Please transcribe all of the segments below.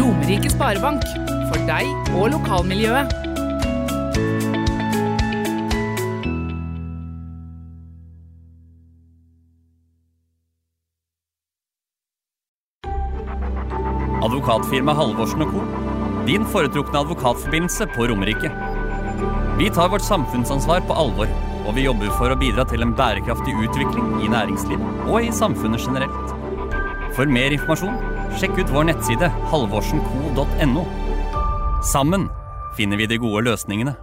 Romerike Sparebank. For deg og lokalmiljøet. Advokatfirma Halvorsen og Co. Din foretrukne advokatforbindelse på Romerike. Vi tar vårt samfunnsansvar på alvor, og vi jobber for å bidra til en bærekraftig utvikling i næringslivet og i samfunnet generelt. For mer informasjon, sjekk ut vår nettside halvorsenco.no. Sammen finner vi de gode løsningene.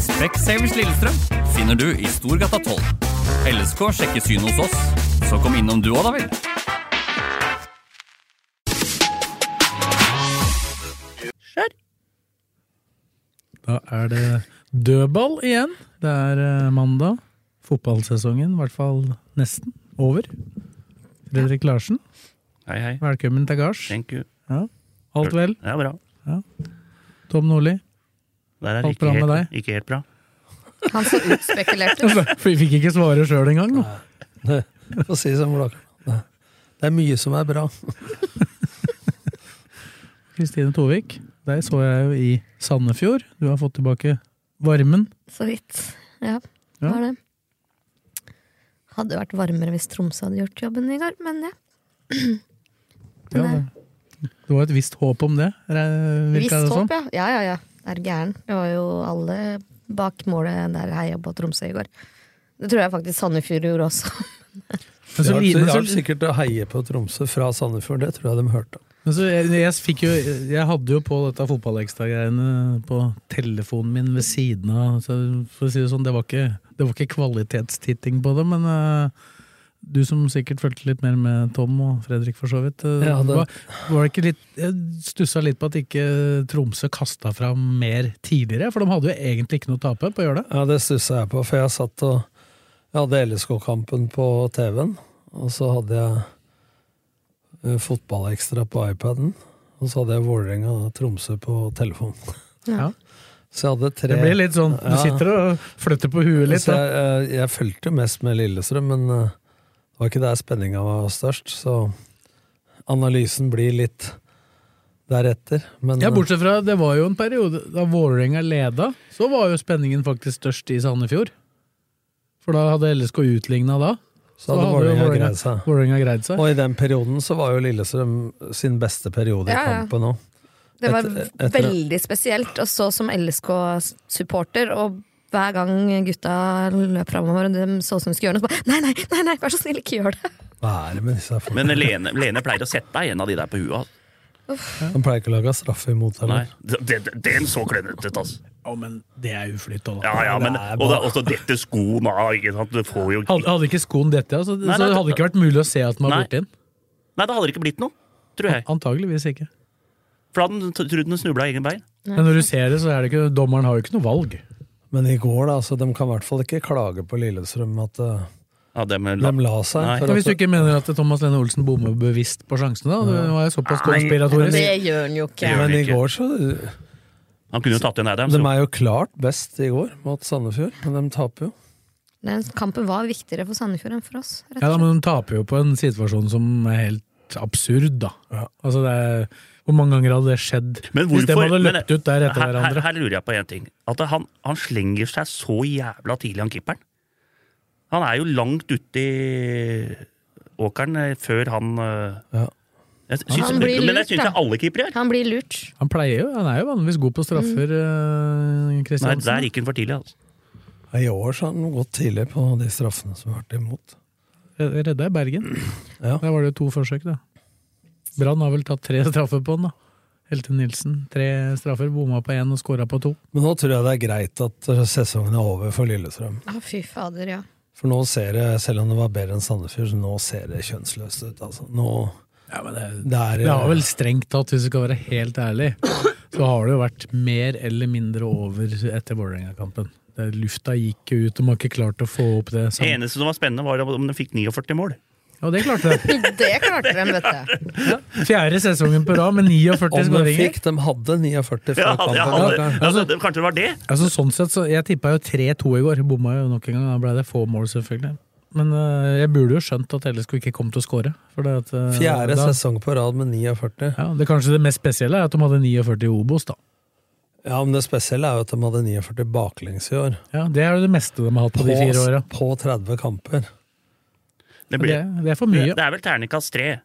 Specsavers Lillestrøm finner du i Storgata 12. LSK sjekker syn hos oss, så kom innom du òg, da vel. Da er det dødball igjen. Det er eh, mandag. Fotballsesongen, i hvert fall nesten, over. Fredrik Larsen, Hei, hei. velkommen til gards. Thank you. Alt vel? Det er bra. Tom Nordli, Der er Alt ikke bra helt, med deg? Ikke helt bra. Han så utspekulert ut. Altså, for vi fikk ikke svare sjøl engang. nå. Få si som Blaker. Det er mye som er bra. Kristine Tovik, deg så jeg jo i Sandefjord. Du har fått tilbake varmen. Så vidt. Ja. Ja, det var det. Hadde vært varmere hvis Tromsø hadde gjort jobben i går, men ja. Ja, Nei. det, det var et visst håp om det, re- Visst virka det sånn? som. håp, ja. Ja, ja, ja. Er du gæren. Det var jo alle bak målet der heia på Tromsø i går. Det tror jeg faktisk Sandefjord gjorde også. Men så, det li- er, men det er så, sikkert å heie på Tromsø fra Sandefjord, det tror jeg de hørte. men så jeg, jeg, fikk jo, jeg hadde jo på dette fotballekstra-greiene på telefonen min ved siden av. Så for å si det sånn, det var ikke, det var ikke kvalitetstitting på det, men eh, du som sikkert fulgte litt mer med Tom og Fredrik, for så vidt. eh, Ja, det- Var, var det ikke litt, jeg stussa litt på at ikke Tromsø kasta fram mer tidligere, for de hadde jo egentlig ikke noe å tape på å gjøre det. Ja, det stussa jeg på, for jeg satt og jeg hadde LSK-kampen på TV-en, og så hadde jeg eh, fotballekstra på iPaden, og så hadde jeg Vålerenga og Tromsø på telefonen. Ja. Så jeg hadde tre Det blir litt sånn, du Ja. sitter og flytter på huet litt. Så Da. jeg, eh, jeg, jeg fulgte jo mest med Lillestrøm, men eh, det var ikke der spenninga var størst, så analysen blir litt deretter. Men eh, Ja, bortsett fra det var jo en periode da Vålerenga leda, så var jo spenningen faktisk størst i Sandefjord. For da hadde LSK utligna da. så hadde jo Vålerenga greid seg. Vålerenga greid seg. Og i den perioden så var jo Lillestrøm sin beste periode i Ja, ja. kampen òg. Det var Etter- etter- veldig spesielt, og så som LSK-supporter, og hver gang gutta løp framover og de så ut som de skulle gjøre noe, så bare nei, nei, nei, nei, vær så snill, ikke gjør det. Hva er det med disse her folkene? Men Lene, Lene pleier å sette deg en av de der på huet. altså. Han pleier ikke å lage straffe imot Nei, heller. det- det- Den så klønete ut, altså. Å, men det er uflytt, da. Ja, ja, men, og da, også dette skoen av, ikke sant. Du får jo Hadde, hadde ikke skoen dette, altså, Nei, så nei, hadde det ikke vært mulig å se at den var Nei. borti den. Nei, det hadde det ikke blitt noe, tror jeg. Antageligvis ikke. For da hadde den t- trodd den snubla i egen bein. Men når du ser det, så er det ikke Dommeren har jo ikke noe valg. Men i går, da, så de kan i hvert fall ikke klage på Lillestrøm at eh, Ja, det med de la seg. Nei. for Men at- hvis du ikke mener at Thomas Lene Olsen bommer bevisst på sjansene, da? Det var jo såpass konspiratorisk. Det gjør han jo ikke. gjør men de i ikke. går så Han kunne jo tatt igjen Adam. De så- er jo klart best i går mot Sandefjord, men de taper jo. Den kampen var viktigere for Sandefjord enn for oss. Rett Ja, da, og slett. men de taper jo på en situasjon som er helt absurd, da. Altså, det er, hvor mange ganger hadde det skjedd Men hvis de hvorfor- hadde løpt men- ut der etter her, her, hverandre? her lurer jeg på én ting. At han, han slenger seg så jævla tidlig, han keeperen. Han er jo langt uti åkeren eh, før han eh, Ja. jeg syns, Han blir Men lurt, jeg syns da. det alle keepere gjør. Han blir lurt. Han, pleier jo, han er jo vanligvis god på straffer, eh, Nei, Kristiansen. der gikk han for tidlig. altså. I år så har de gått tidlig på de straffene som har vært imot. Red- Redda i Bergen. Ja. Der var det jo to forsøk, da. Brann har vel tatt tre straffer på den, da. Helte Nilsen. Tre straffer, bomma på én og skåra på to. Men nå tror jeg det er greit at eh, sesongen er over for Lillestrøm. Å, fy fader, ja. For nå ser det, selv om det var bedre enn Sandefjord, så nå ser det kjønnsløst ut. Altså. Nå, eh, det er, Det har Eh. vel strengt tatt, hvis du skal være helt ærlig, så har det jo vært mer eller mindre over etter Vålerenga-kampen. Det- Lufta gikk jo ut, og man har ikke klart å få opp det. Det samme- eneste som var spennende, var om de fikk 49 mål. Ja, det klarte det. Det klarte de, vet du. Fjerde sesongen på rad med 49 Om de skåringer. fikk, de hadde 49 før Ja, kampen. ja, det, ja. altså, det, kanskje det var det? Altså, sånn sett, så Jeg tippa jo 3-2 i går. Bomma jo nok en gang. Da ble det få mål, selvfølgelig. Men øh, jeg burde jo skjønt at LSK ikke kom til å skåre. For det at, øh, Fjerde da- sesong på rad med 49. Ja, det kanskje det mest spesielle er at de hadde 49 i Obos, da. Ja, men det spesielle er jo at de hadde 49 baklengs i år. Ja, Det er jo det meste de har hatt på de fire åra. på 30 kamper. Det, Det, blir, det er for det mye. er vel terningkast tre.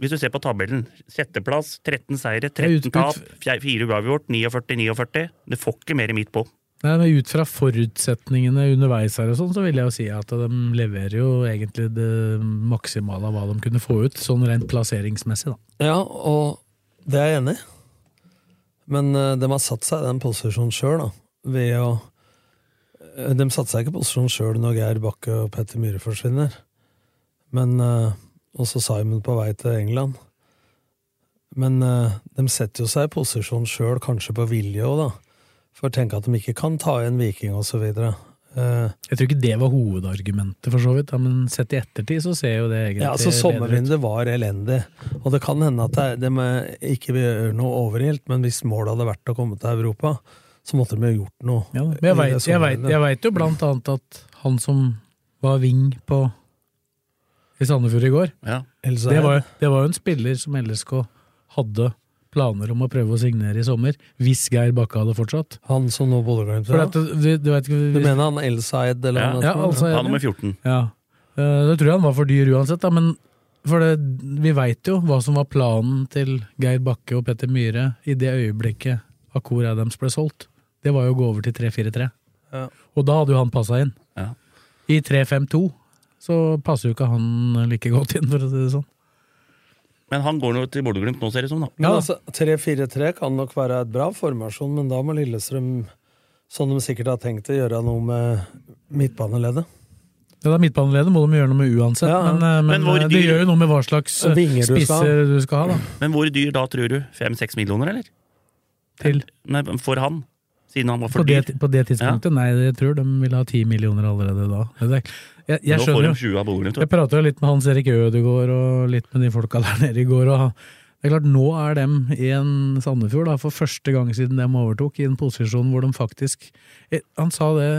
Hvis du ser på tabellen. Sjetteplass, 13 seire, er 13 tap, utbytt. 4 uavgjort, 49-49. Det får ikke mer midt på. Nei, men Ut fra forutsetningene underveis her og sånn, så vil jeg jo si at de leverer jo egentlig det maksimale av hva de kunne få ut, sånn rent plasseringsmessig, da. Ja, og det er jeg enig i. Men eh, de har satt seg i den posisjonen sjøl, da. Ved å eh, De satte seg ikke i posisjonen sjøl når Geir Bakke og Petter Myhre forsvinner. Men eh, Også Simon på vei til England. Men eh, de setter jo seg i posisjon sjøl, kanskje på vilje òg, da. For tenk at de ikke kan ta igjen Viking og så videre. Eh, Jeg tror ikke det var hovedargumentet, for så vidt, da, men sett i ettertid så ser jo det egentlig Ja, altså eh, bedre ut. Sommervinduet var elendig. Og det kan hende at det, det med, ikke vil gjøre noe overilt, men hvis målet hadde vært å komme til Europa, så måtte de jo gjort noe. Ja, da. men jeg i det vet- jeg vet- jeg sommervinduet. veit jo blant annet at han som var wing på i Sandefjord i går, Ja. Ellers er det var, det var jo en spiller som LSK hadde planer om å prøve å signere i sommer, hvis Geir Bakke hadde fortsatt. Han som nå Bodø-Glimt For fra. at, du, du vet ikke Du mener han Elsaid, Ja, eller hva ja, han heter? altså, Han nummer 14. ja. Eh, Da tror jeg han var for dyr uansett, da, men for det, vi veit jo hva som var planen til Geir Bakke og Petter Myhre i det øyeblikket Akor Adams ble solgt. Det var jo å gå over til 3-4-3. Ja. Og da hadde jo han passa inn. Ja. I 3-5-2 så passer jo ikke han like godt inn, for å si det sånn. Men han går nå til Bodø-Glimt nå, ser det ut som. da. Men Ja, da. altså, 3-4-3 kan nok være et bra formasjon, men da må Lillestrøm, som de sikkert har tenkt, å gjøre noe med midtbaneleddet. Ja, det er midtbaneleder, må de gjøre noe med uansett. Ja, ja. Men, eh, men, Men hvor eh, det dyr- gjør jo noe med hva slags eh, Vinger du skal ha. spisser du skal ha, da. Men hvor dyr da, tror du? 5-6 millioner, eller? Til. Nei, for han. Siden han var På for det, dyr. på det tidspunktet? Nei, jeg tror de vil ha ti millioner allerede da. Det er, jeg, jeg Nå får skjønner de jo. 20 av Bodø-Glimt. Jeg prata jo litt med Hans Erik Ødegaard og litt med de folka der nede i går. og det er klart, Nå er dem i en Sandefjord, da, for første gang siden dem overtok, i en posisjon hvor de faktisk Eh, Han sa det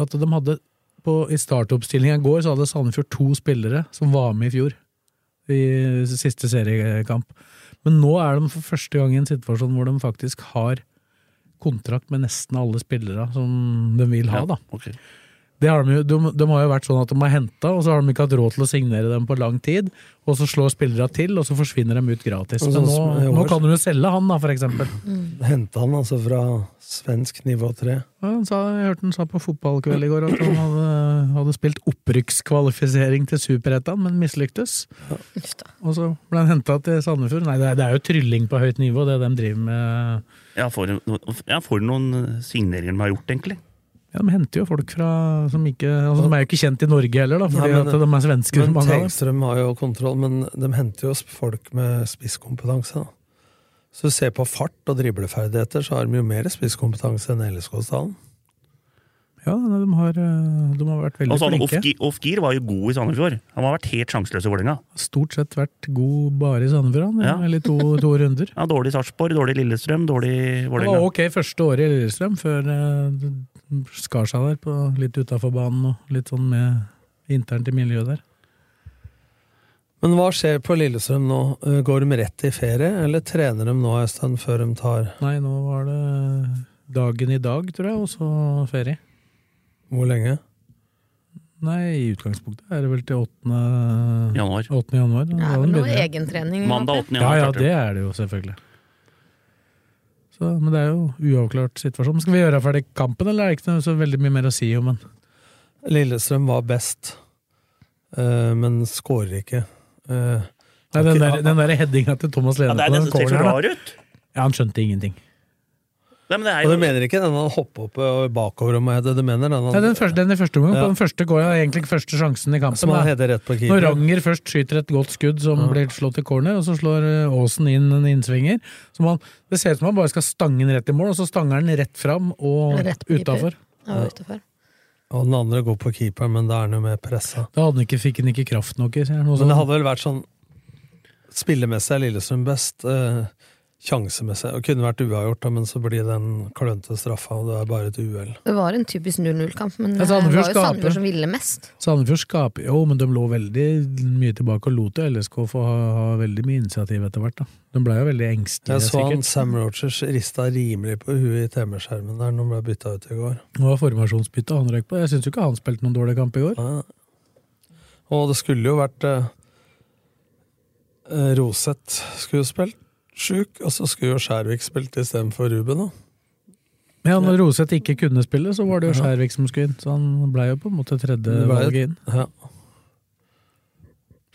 at de hadde på, I startoppstillinga i går så hadde Sandefjord to spillere som var med i fjor, i siste seriekamp. Men nå er de for første gang i en situasjon hvor de faktisk har kontrakt med nesten alle spillere som de vil ha. da. ok. Det har de, jo, de, de har jo vært sånn at de har henta, og så har de ikke hatt råd til å signere dem på lang tid. Og så slår spillere til, og så forsvinner de ut gratis. Og Men nå, sånn som i år. nå kan de jo selge han, da, for eksempel. Hente han altså fra svensk nivå 3. Ja, Han sa, jeg hørte han sa på fotballkveld i går at han hadde, hadde spilt opprykkskvalifisering til Superettan, men mislyktes. Uff da. Og så ble han henta til Sandefjord. Nei, det er, det er jo trylling på høyt nivå, det de driver med. Ja, for, ja, for noen signeringer de har gjort, egentlig. Ja, De henter jo folk fra som ikke altså, De er jo ikke kjent i Norge heller, da, fordi Nei, men- at de er svensker. Men mange av dem. Tegstrøm har jo kontroll, men de henter jo folk med spisskompetanse. da. Så du ser på fart og dribleferdigheter, så har de jo mer spisskompetanse enn LSK-stallen. Ja, nei, de har, eh, de har vært veldig Og så Altså, han flinke. Off-Gear off-gear var jo god i Sandefjord. Han har vært helt sjanseløs i Vålerenga. Stort sett vært god bare i Sandefjord, han, Ja. eller to, to runder. Ja, dårlig Sarpsborg, dårlig Lillestrøm, dårlig Det var Vålerenga. ok første året i Lillestrøm, før eh, det skar seg der, på, litt utafor banen og litt sånn med internt i miljøet der. Men hva skjer på Lillestrøm nå? Eh, Går de rett i ferie, eller trener de nå, Øystein, før de tar Nei, nå var det dagen i dag, tror jeg, og så ferie. hvor lenge? Nei, i utgangspunktet er det vel til 8. Januar. 8. januar. da Det den er vel noe begynner. egentrening. Mandag 8. Ja, januar. ja, starter. det er det jo selvfølgelig. Så, men det er jo uavklart situasjon. Skal vi gjøre ferdig kampen, eller er det ikke noe så veldig mye mer å si om den? Lillestrøm var best, eh, men skårer ikke. Eh, Nei, den der, den der headinga til Thomas Ja, Lene det er det på den som ser så corneren, da. rar ut! Ja, han skjønte ingenting. Nei, men det er Og jo du mener ikke den han hopper opp og bakover og meg, det du mener? Den, han, Nei, den første, den i første omgang, Ja. på den første går jeg egentlig første sjansen i kampen. som han da. heter rett på Når keeper? Ranger først skyter et godt skudd som blir slått i corner, og så slår eh, Aasen inn en innsvinger. Så man, det ser ut som han bare skal stange den rett i mål, og så stanger den rett fram og Rett på keeper. utafor. Jeg var utenfor. Og den andre går på keeperen, men da er han jo mer pressa. Da hadde han ikke, fikk han ikke kraft nok i, sier han. noe Men det sånt. hadde vel vært sånn Spillemessig er Lillestrøm best. Eh, sjansemessig og Kunne vært uavgjort, da, men så blir den klønete straffa, og det er bare et uhell. Det var en typisk 0-0-kamp, men Ja, det så var Sandefjord jo skaper. Sandefjord som ville mest. Sandefjord skaper Jo, men de lå veldig mye tilbake og lot jo LSK få ha, ha veldig mye initiativ etter hvert, da. De blei jo veldig engstelige, Jeg så han sikkert. Sam Rogers rista rimelig på huet i TV-skjermen der når han ble bytta ut i går. Det var formasjonsbytte han røyk på. Jeg syns jo ikke han spilte noen dårlig kamp i går. Ja. Og det skulle jo vært eh, eh, Roseth skulle jo spilt sjuk, og så skulle jo Skjærvik spilt istedenfor Ruben. Da. Ja, når Roseth ikke kunne spille, så var det jo Skjærvik som skulle inn. Så han blei jo på en måte Det ble- tredjevalget inn. Ja.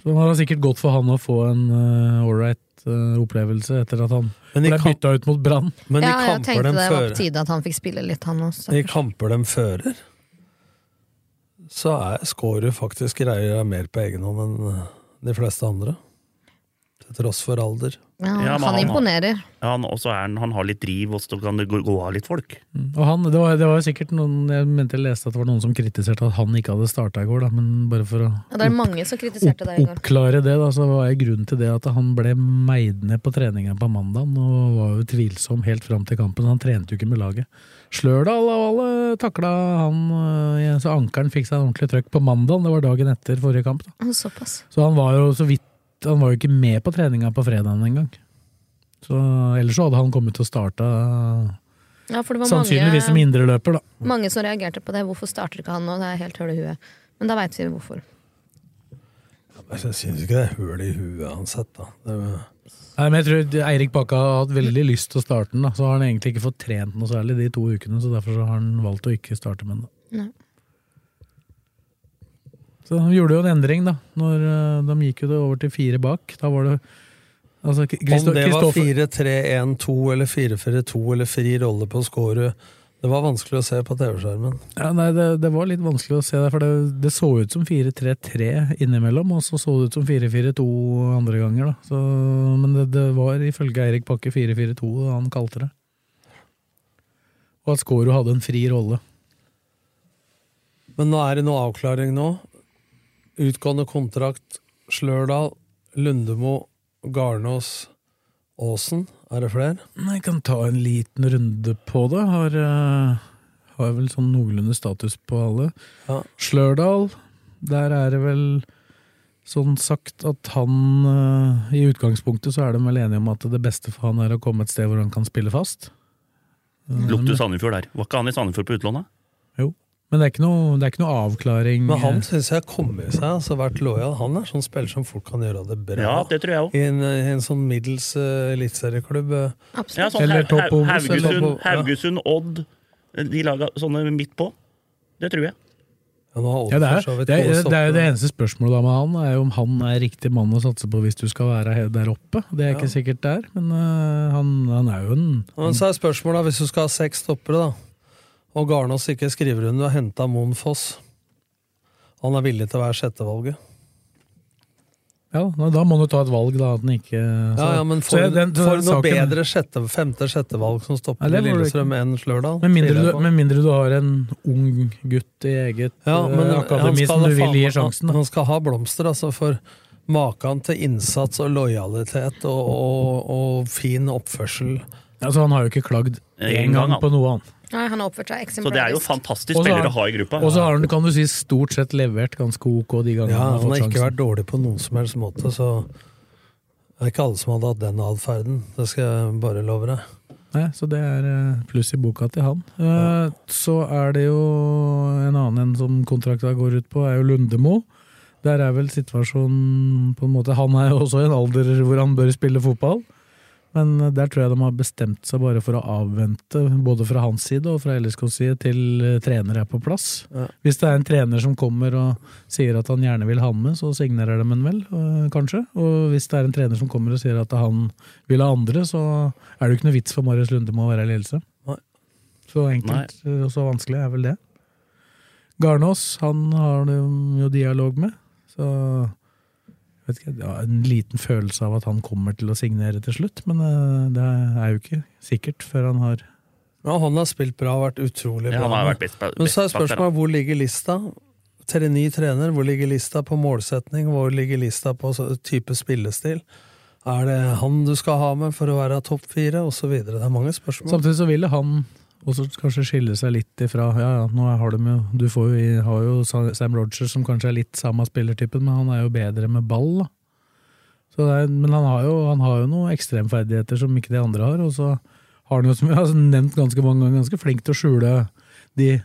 Så det var sikkert godt for han å få en eh, ålreit opplevelse etter at han Men i, ble kamp, bytta ut mot Brann. men i Ja, jeg kamper tenkte dem det var på fører tide at han fikk spille litt, han også. I kamper de fører, så er Skårud faktisk greier mer på egen hånd enn eh, de fleste andre. Til tross for alder. Ja, Ja, men han han- imponerer. han, også er han, han har litt driv, og så kan det gå, gå av litt folk. Og han, det, var, det var jo sikkert noen Jeg mente jeg leste at det var noen som kritiserte at han ikke hadde starta i går, da, men bare for å Ja, det er mange som kritiserte deg i går. oppklare det, da, så var jo grunnen til det at han ble meid ned på treninga på mandagen og var jo tvilsom helt fram til kampen. Han trente jo ikke med laget. Slørdal og alle takla han, øh, så ankeren fikk seg en ordentlig trøkk på mandagen. Det var dagen etter forrige kamp. da. Å, Såpass. Så han var jo så vidt Han var jo ikke med på treninga på fredagen engang. Så ellers så hadde han kommet til å starte øh, Ja, for det var sannsynligvis som mange, indreløper, da. mange som reagerte på det. Hvorfor starter ikke han nå? Det er helt høl i huet. Men da veit vi hvorfor. Jeg syns ikke det er høl i huet uansett, da. Det, Nei, men jeg tror Eirik Bakka har hatt veldig lyst til å starte den, da. så har han egentlig ikke fått trent noe særlig de to ukene, så derfor så har han valgt å ikke starte med den. da. Nei. Så han gjorde jo en endring, da. Når øh, de gikk jo det over til fire bak. Da var det altså, K- Christo- om det var Kristoffer- 4-3-1-2 eller 4-4-2 eller fri rolle på Skårud, det var vanskelig å se på TV-skjermen. Ja, nei, det, det var litt vanskelig å se der, for det, det så ut som 4-3-3 innimellom, og så så det ut som 4-4-2 andre ganger, da. Så, men det, det var ifølge Eirik Bakke 4-4-2 han kalte det. Og at Skårud hadde en fri rolle. Men nå er det noe avklaring nå. Utgående kontrakt Slørdal, Lundemo, Garnås, Åsen. Er det flere? Jeg kan ta en liten runde på det. Har, eh, har vel sånn noenlunde status på alle. Ja. Slørdal, der er det vel sånn sagt at han eh, I utgangspunktet så er de vel enige om at det beste for han er å komme et sted hvor han kan spille fast. Mm. Lukter Sandefjord der. Var ikke han i Sandefjord på utlånet? Jo. Men det er ikke noe, det er ikke noe avklaring. Men han syns jeg kommer seg, altså vært lojal. Han er sånn spiller som fort kan gjøre det bra. Ja, det tror jeg òg. I en, i en sånn middels uh, eliteserieklubb. eh. Ja, Absolutt. sånn Eller Hau- Hau- Toppobos, eller Haugesund, Topp- ja. Haugesund, Odd, de laga sånne midt på. Det tror jeg. Ja, nå har Odd ja, det, for så er, vidt det, gode er, det er jo stoppere. det eneste spørsmålet da med han, er jo om han er riktig mann å satse på hvis du skal være he- der oppe. Det er ikke sikkert der, men eh, han, han er jo en Men så er spørsmålet, hvis du skal ha seks stoppere, da, og Garnås ikke skriver under, du har henta Moen Foss. Han er villig til å være sjettevalget. Ja, men da må du ta et valg, da. At den ikke så- Ja, ja, men så for, jeg- den- for noe saken- bedre sjette, femte-sjette valg som stopper Nei, det må du Lillestrøm enn Slørdal. Med mindre, tviler jeg du, på. med mindre du har en ung gutt i eget Ja, men eh, akademi han skal som du ha vil faen- gi sjansen. Da. Han skal ha blomster, altså, for maken til innsats og lojalitet og, og, og fin oppførsel. Altså, han har jo ikke klagd En én gang, gang, på noe annet. Nei, han har oppført seg Så det er jo eksemplarisk. fantastisk Og så har- spillere å ha i gruppa. Og så har han, kan du si, stort sett levert ganske ok de gangene Ja, han har han fått har ikke sjansen. vært dårlig på noen som helst måte, så det er ikke alle som hadde hatt den atferden. Det skal jeg bare love deg. Nei, så det er eh, pluss i boka til han. Eh, Så er det jo en annen en som kontrakta går ut på, er jo Lundemo. Der er vel situasjonen på en måte Han er jo også i en alder hvor han bør spille fotball. Men eh, der tror jeg de har bestemt seg bare for å avvente, både fra hans side og fra LSKs side, til eh, trener er på plass. Ja. Hvis det er en trener som kommer og sier at han gjerne vil ha han med, så signerer de han vel, eh, kanskje. Og hvis det er en trener som kommer og sier at han vil ha andre, så er det jo ikke noe vits for Marius Lunde med å være i ledelse. Nei. Så enkelt eh, og så vanskelig er vel det. Garnås, han har de jo dialog med, så vet ikke, jeg har en liten følelse av at han kommer til å signere til slutt, men eh, det er jo ikke sikkert før han har Ja, han har spilt bra, vært utrolig Ja, bra. han har vært best, best Men bak så er der, da. spørsmålet hvor ligger lista? Til en ny trener, hvor ligger lista på målsetning? Hvor ligger lista på så- type spillestil? Er det han du skal ha med for å være topp fire, osv.? Det er mange spørsmål. Samtidig så ville han også kanskje skille seg litt ifra Ja, ja, nå har de jo Du får jo, har jo Sa- Sam Rogers, som kanskje er litt samme spillertypen, men han er jo bedre med ball, da. Så det er, men han har, jo, han har jo noen ekstremferdigheter som ikke de andre har, og så har han jo, som jeg har nevnt ganske mange ganger, ganske flink til å skjule de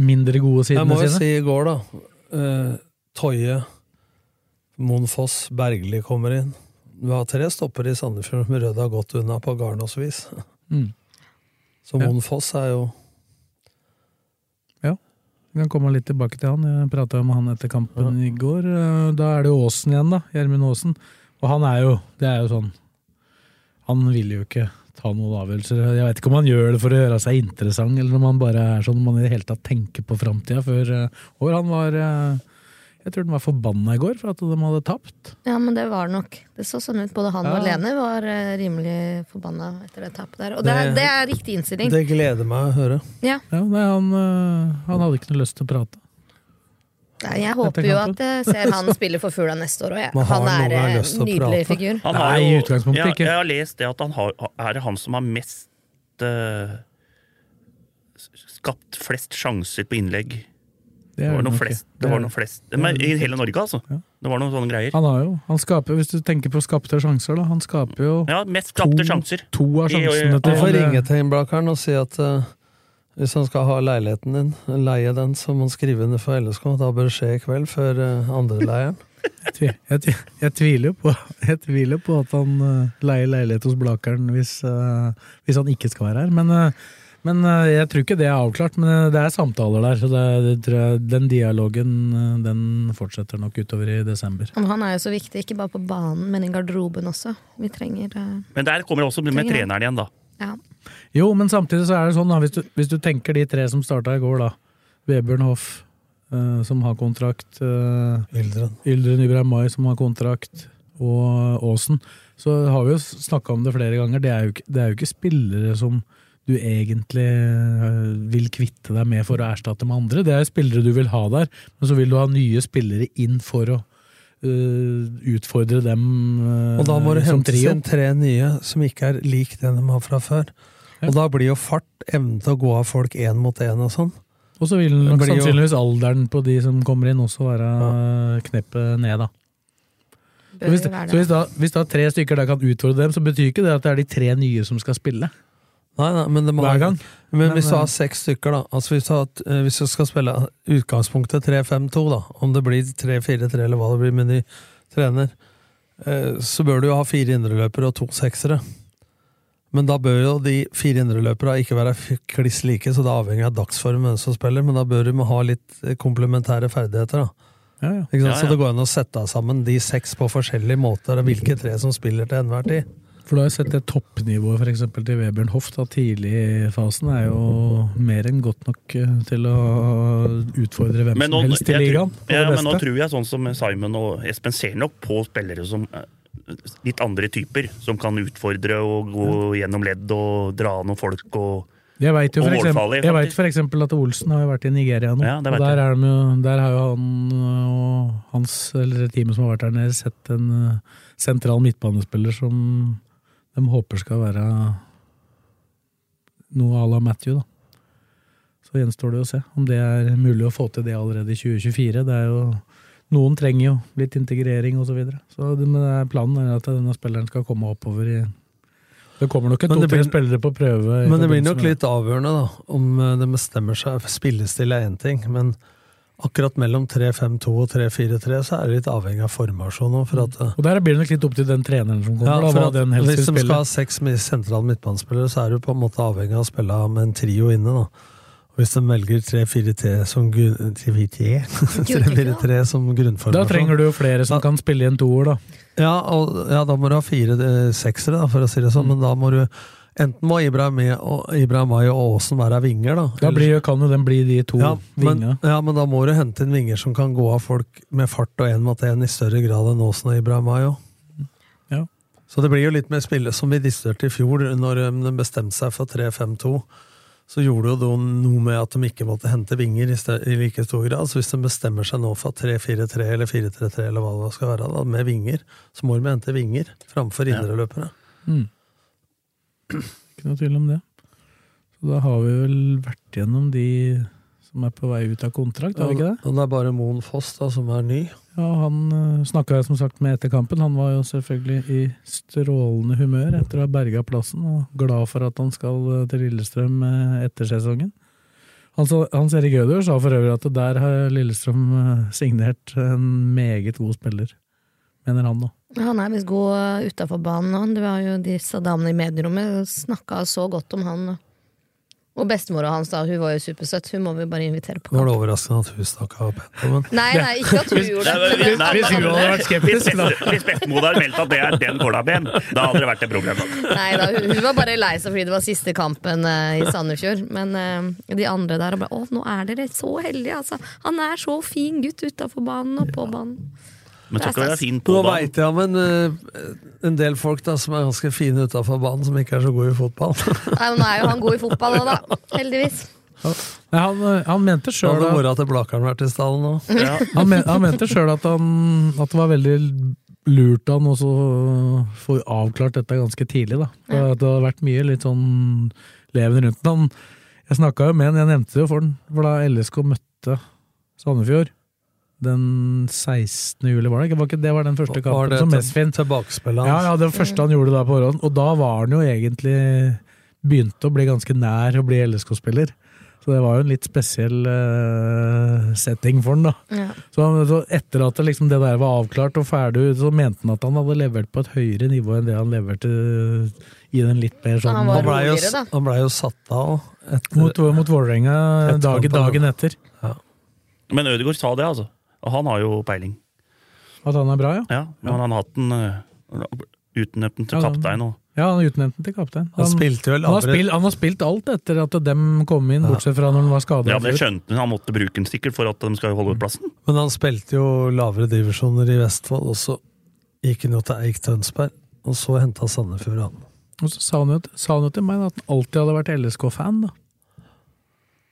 mindre gode Jeg sidene må jo sine. si i går, da. eh, Toje, Mon Foss, Bergli kommer inn. Du har tre stopper i Sandefjord som Rød har gått unna på Garnås-vis. Mm. Så Ja. Mon Foss er jo Vi kan komme litt tilbake til han. Jeg prata med han etter kampen i går. Eh, Da er det jo Aasen igjen, da. Gjermund Aasen. Og han er jo Det er jo sånn Han vil jo ikke ta noen avgjørelser. Jeg vet ikke om han gjør det for å gjøre seg interessant, eller om han bare er sånn man i det hele tatt tenker på framtida før eh, år. Han var eh, Jeg tror han var forbanna i går for at de hadde tapt. Ja, men det var det nok. Det så sånn ut. Både han Ja. og Lene var eh, rimelig forbanna etter det tapet der. Og det er, Det- det er riktig innstilling. Det gleder meg å høre. Ja. Ja, nei, han, eh, han hadde ikke noe lyst til å prate. Nei, Jeg håper jo at jeg ser han spiller for Fugla neste år òg. Men har Han han er noen gang en lyst til å nydelig prate? figur. Han Nei, i utgangspunktet jeg, ikke. Jeg har lest det at han har, er det han som har mest eh, s- Skapt flest sjanser på innlegg. Det Det er var nok noen ikke. flest. Det Det er var noen flest. Men, I hele Norge, altså. Ja. Det var noen sånne greier. Han har jo Han skaper, hvis du tenker på skapte sjanser, da. Han skaper jo Ja, mest skapte To- sjanser. to av Jo, jo, jo. sjansene Du til får ringe til innblakeren og si at eh, hvis han skal ha leiligheten din, leie den, så må han skrive under for LSK. Da bør det skje i kveld, før uh, andreleieren. Jeg tvi- Jeg, tvi- jeg, tviler på, jeg tviler på at han eh, leier leilighet hos Blakeren hvis, eh, hvis han ikke skal være her. Men, eh, men eh, jeg tror ikke det er avklart. Men eh, det er samtaler der, så det, det tror jeg, den dialogen eh, den fortsetter nok utover i desember. Men han er jo så viktig, ikke bare på banen, men i garderoben også. Vi trenger eh, Men der kommer det også med Trenger han. treneren igjen, da. Ja. Jo, men samtidig så er det sånn, da, hvis du, hvis du tenker de tre som starta i går, da. Vebjørn Hoff, eh, som har kontrakt. eh, Ildren. Yldren Ibrahimai som har kontrakt, og Aasen. Så har vi jo snakka om det flere ganger. Det er, jo ikke, det er jo ikke spillere som du egentlig øh, vil kvitte deg med for å erstatte med andre. Det er spillere du vil ha der, men så vil du ha nye spillere inn for å øh, utfordre dem øh, Og da må du som hente trio. inn tre nye som ikke er lik den de har fra før. Og da blir jo fart, evnen til å gå av folk én mot én og sånn. Og så vil nok Det blir jo- sannsynligvis alderen på de som kommer inn, også være øh, kneppet ned, da. Så Bør hvis, være så hvis, det. da, hvis da tre stykker der kan utfordre dem, så betyr ikke det at det er de tre nye som skal spille Nei, nei, men, det må, hver gang. men hvis Men, eh, du har seks stykker, da altså hvis, du har, eh, hvis du skal spille utgangspunktet 3-5-2, da, om det blir 3-4-3 eller hva det blir med ny trener, eh, så bør du jo ha fire indreløpere og to seksere. Men da bør jo de fire indreløperne ikke være f- kliss like, så det avhenger av dagsform hvem som spiller, men da bør de ha litt eh, komplementære ferdigheter, da. Ja, ja. Ikke sant? Ja, Så ja. det går an å sette sammen de seks på forskjellige måter, og hvilke tre som spiller til enhver tid. For da har jeg sett det toppnivået for eksempel, til Vebjørn Hoff da, tidlig i fasen er jo mer enn godt nok eh, til å utfordre hvem Men nå, som helst i jeg, ligaen. tror- på det ja, men nå beste. tror jeg sånn som Simon og Espen ser nok på spillere som eh, litt andre typer, som kan utfordre og gå gjennom ledd og dra noen folk og Jeg vet jo Og for eksempel, målfarlig, jeg faktisk. vet for eksempel at Olsen har jo vært i Nigeria nå. Ja, det og vet jeg. der, er de jo, der har jo han øh, og hans, eller teamet som har vært der nede, sett en øh, sentral midtbanespiller som de håper skal være noe à la Matthew, da. Så gjenstår det å se om det er mulig å få til det allerede i 2024. Det er jo noen trenger jo litt integrering osv. Så videre. så det, men det er planen er at denne spilleren skal komme oppover i Det kommer nok Men det to-tre blir- spillere på prøve. i Men det blir forbindelse nok med- litt avgjørende, da, om eh, de bestemmer seg Spillestil er én ting, men akkurat mellom 3-5-2 og 3-4-3 så er det litt avhengig av formasjon nå. For at, eh, Og der blir det nok litt opp til den treneren som kommer. ja, da, for hva at den helst vil Hvis de skal spille. ha seks mi- sentrale midtbanespillere, så er du på en måte avhengig av å spille med en trio inne. da. Og Hvis de velger 3-4-3 som, grunn- 3-4-3? 3-4-3 som grunnformasjon Da trenger du jo flere som Da- kan spille i en toer, da. ja, og, ja, da må du ha fire eh, seksere, da, for å si det Mm. sånn. Men da må du Enten må Ibrahim og, Ibrahim og Aasen være vinger, da. Da blir, jo- kan jo den bli de to ja, men, vingene. ja, men da må du hente inn vinger som kan gå av folk med fart og én mot én i større grad enn Aasen og Ibrahim Ayo. Ja. Så det blir jo litt mer spille som vi diskuterte i fjor, når um, de bestemte seg for 3-5-2. Så gjorde jo de noe med at de ikke måtte hente vinger i, sted, i like stor grad. Så hvis de bestemmer seg nå for 3-4-3 eller 4-3-3 eller hva det skal være, da, med vinger, så må de hente vinger framfor indreløpere. Mm. Ikke noe tvil om det. Så da har vi vel vært gjennom de som er på vei ut av kontrakt, har vi ikke det? Og det er bare Moen Foss da, som er ny. Ja, Han snakka jeg som sagt med etter kampen. Han var jo selvfølgelig i strålende humør etter å ha berga plassen, og glad for at han skal eh, til Lillestrøm eh, etter sesongen. Hans, Hans Erik Ødegaard sa for øvrig at der har Lillestrøm eh, signert en meget god spiller, mener han da. Ja, Han er visst god utafor banen nå. Det var jo disse damene i medierommet snakka så godt om han. eh. Og bestemora hans, da. Hun var jo supersøt. Hun må vi bare invitere på Nå er det kamp. overraskende at hun stakk av Petter, men Nei, nei, ikke at hun gjorde det. men at hvis hun alle hadde andre- vært skeptisk, Hvis da. Best- Hvis bestemor hadde meldt at det er den kålaben, da hadde det vært et problem. da. Nei da, hun, hun var bare lei seg fordi det var siste kampen eh, i Sandefjord. Men eh, de andre der og bare Å, nå er dere så heldige, altså. Han er så fin gutt utafor banen og på banen. Men så skal det være fin på Nå da. veit jeg om en, eh, en del folk da, som er ganske fine utafor banen, som ikke er så gode i fotball. Nei, men Nå er jo han god i fotball òg, da. Heldigvis. Nei, han, eh, han mente Da hadde sjøl mora til Blakeren vært i stallen nå. Ja. han men, han mente selv at, han, at det var veldig lurt av han også å få avklart dette ganske tidlig. Da. For at Det har vært mye litt sånn leven rundt han. Jeg snakka jo med han, jeg nevnte det jo for han, for da LSK møtte Sandefjord den 16. juli, var det ikke? Var ikke det var den første Var kampen det som til- Mesfin Tilbakespillet ja, hans. ja, det første han gjorde da på forhånd. Og da var han jo egentlig begynte å bli ganske nær å bli LSK-spiller. Så det var jo en litt spesiell eh, setting for han da. Ja. Så, han, så etter at det, liksom, det der var avklart og ferdig, så mente han at han hadde levert på et høyere nivå enn det han leverte eh, i den litt mer han sånn var- Han blei jo, roligere, da. han ble jo satt av Mot, etter mot Vålerenga Etter dagen, kampen, dagen ja. etter. Men Ødegaard sa det, altså. Og han har jo peiling. At han er bra, ja. Ja, men han har hatt den eh, utnevnt den til Ja, da. kaptein og Ja, Han utnevnte den til kaptein. Han spilte jo han, har lavere spilt, han har spilt alt etter at dem kom inn, bortsett fra når han var skada. Ja, men det skjønte han. Han måtte bruke den sikkert for at de skal holde ut plassen. Men han spilte jo lavere divisjoner i Vestfold, og så gikk han jo til Eik Tønsberg. Og så henta Sandefjord han. Og så sa han, jo, sa han jo til meg da, at han alltid hadde vært LSK-fan. da.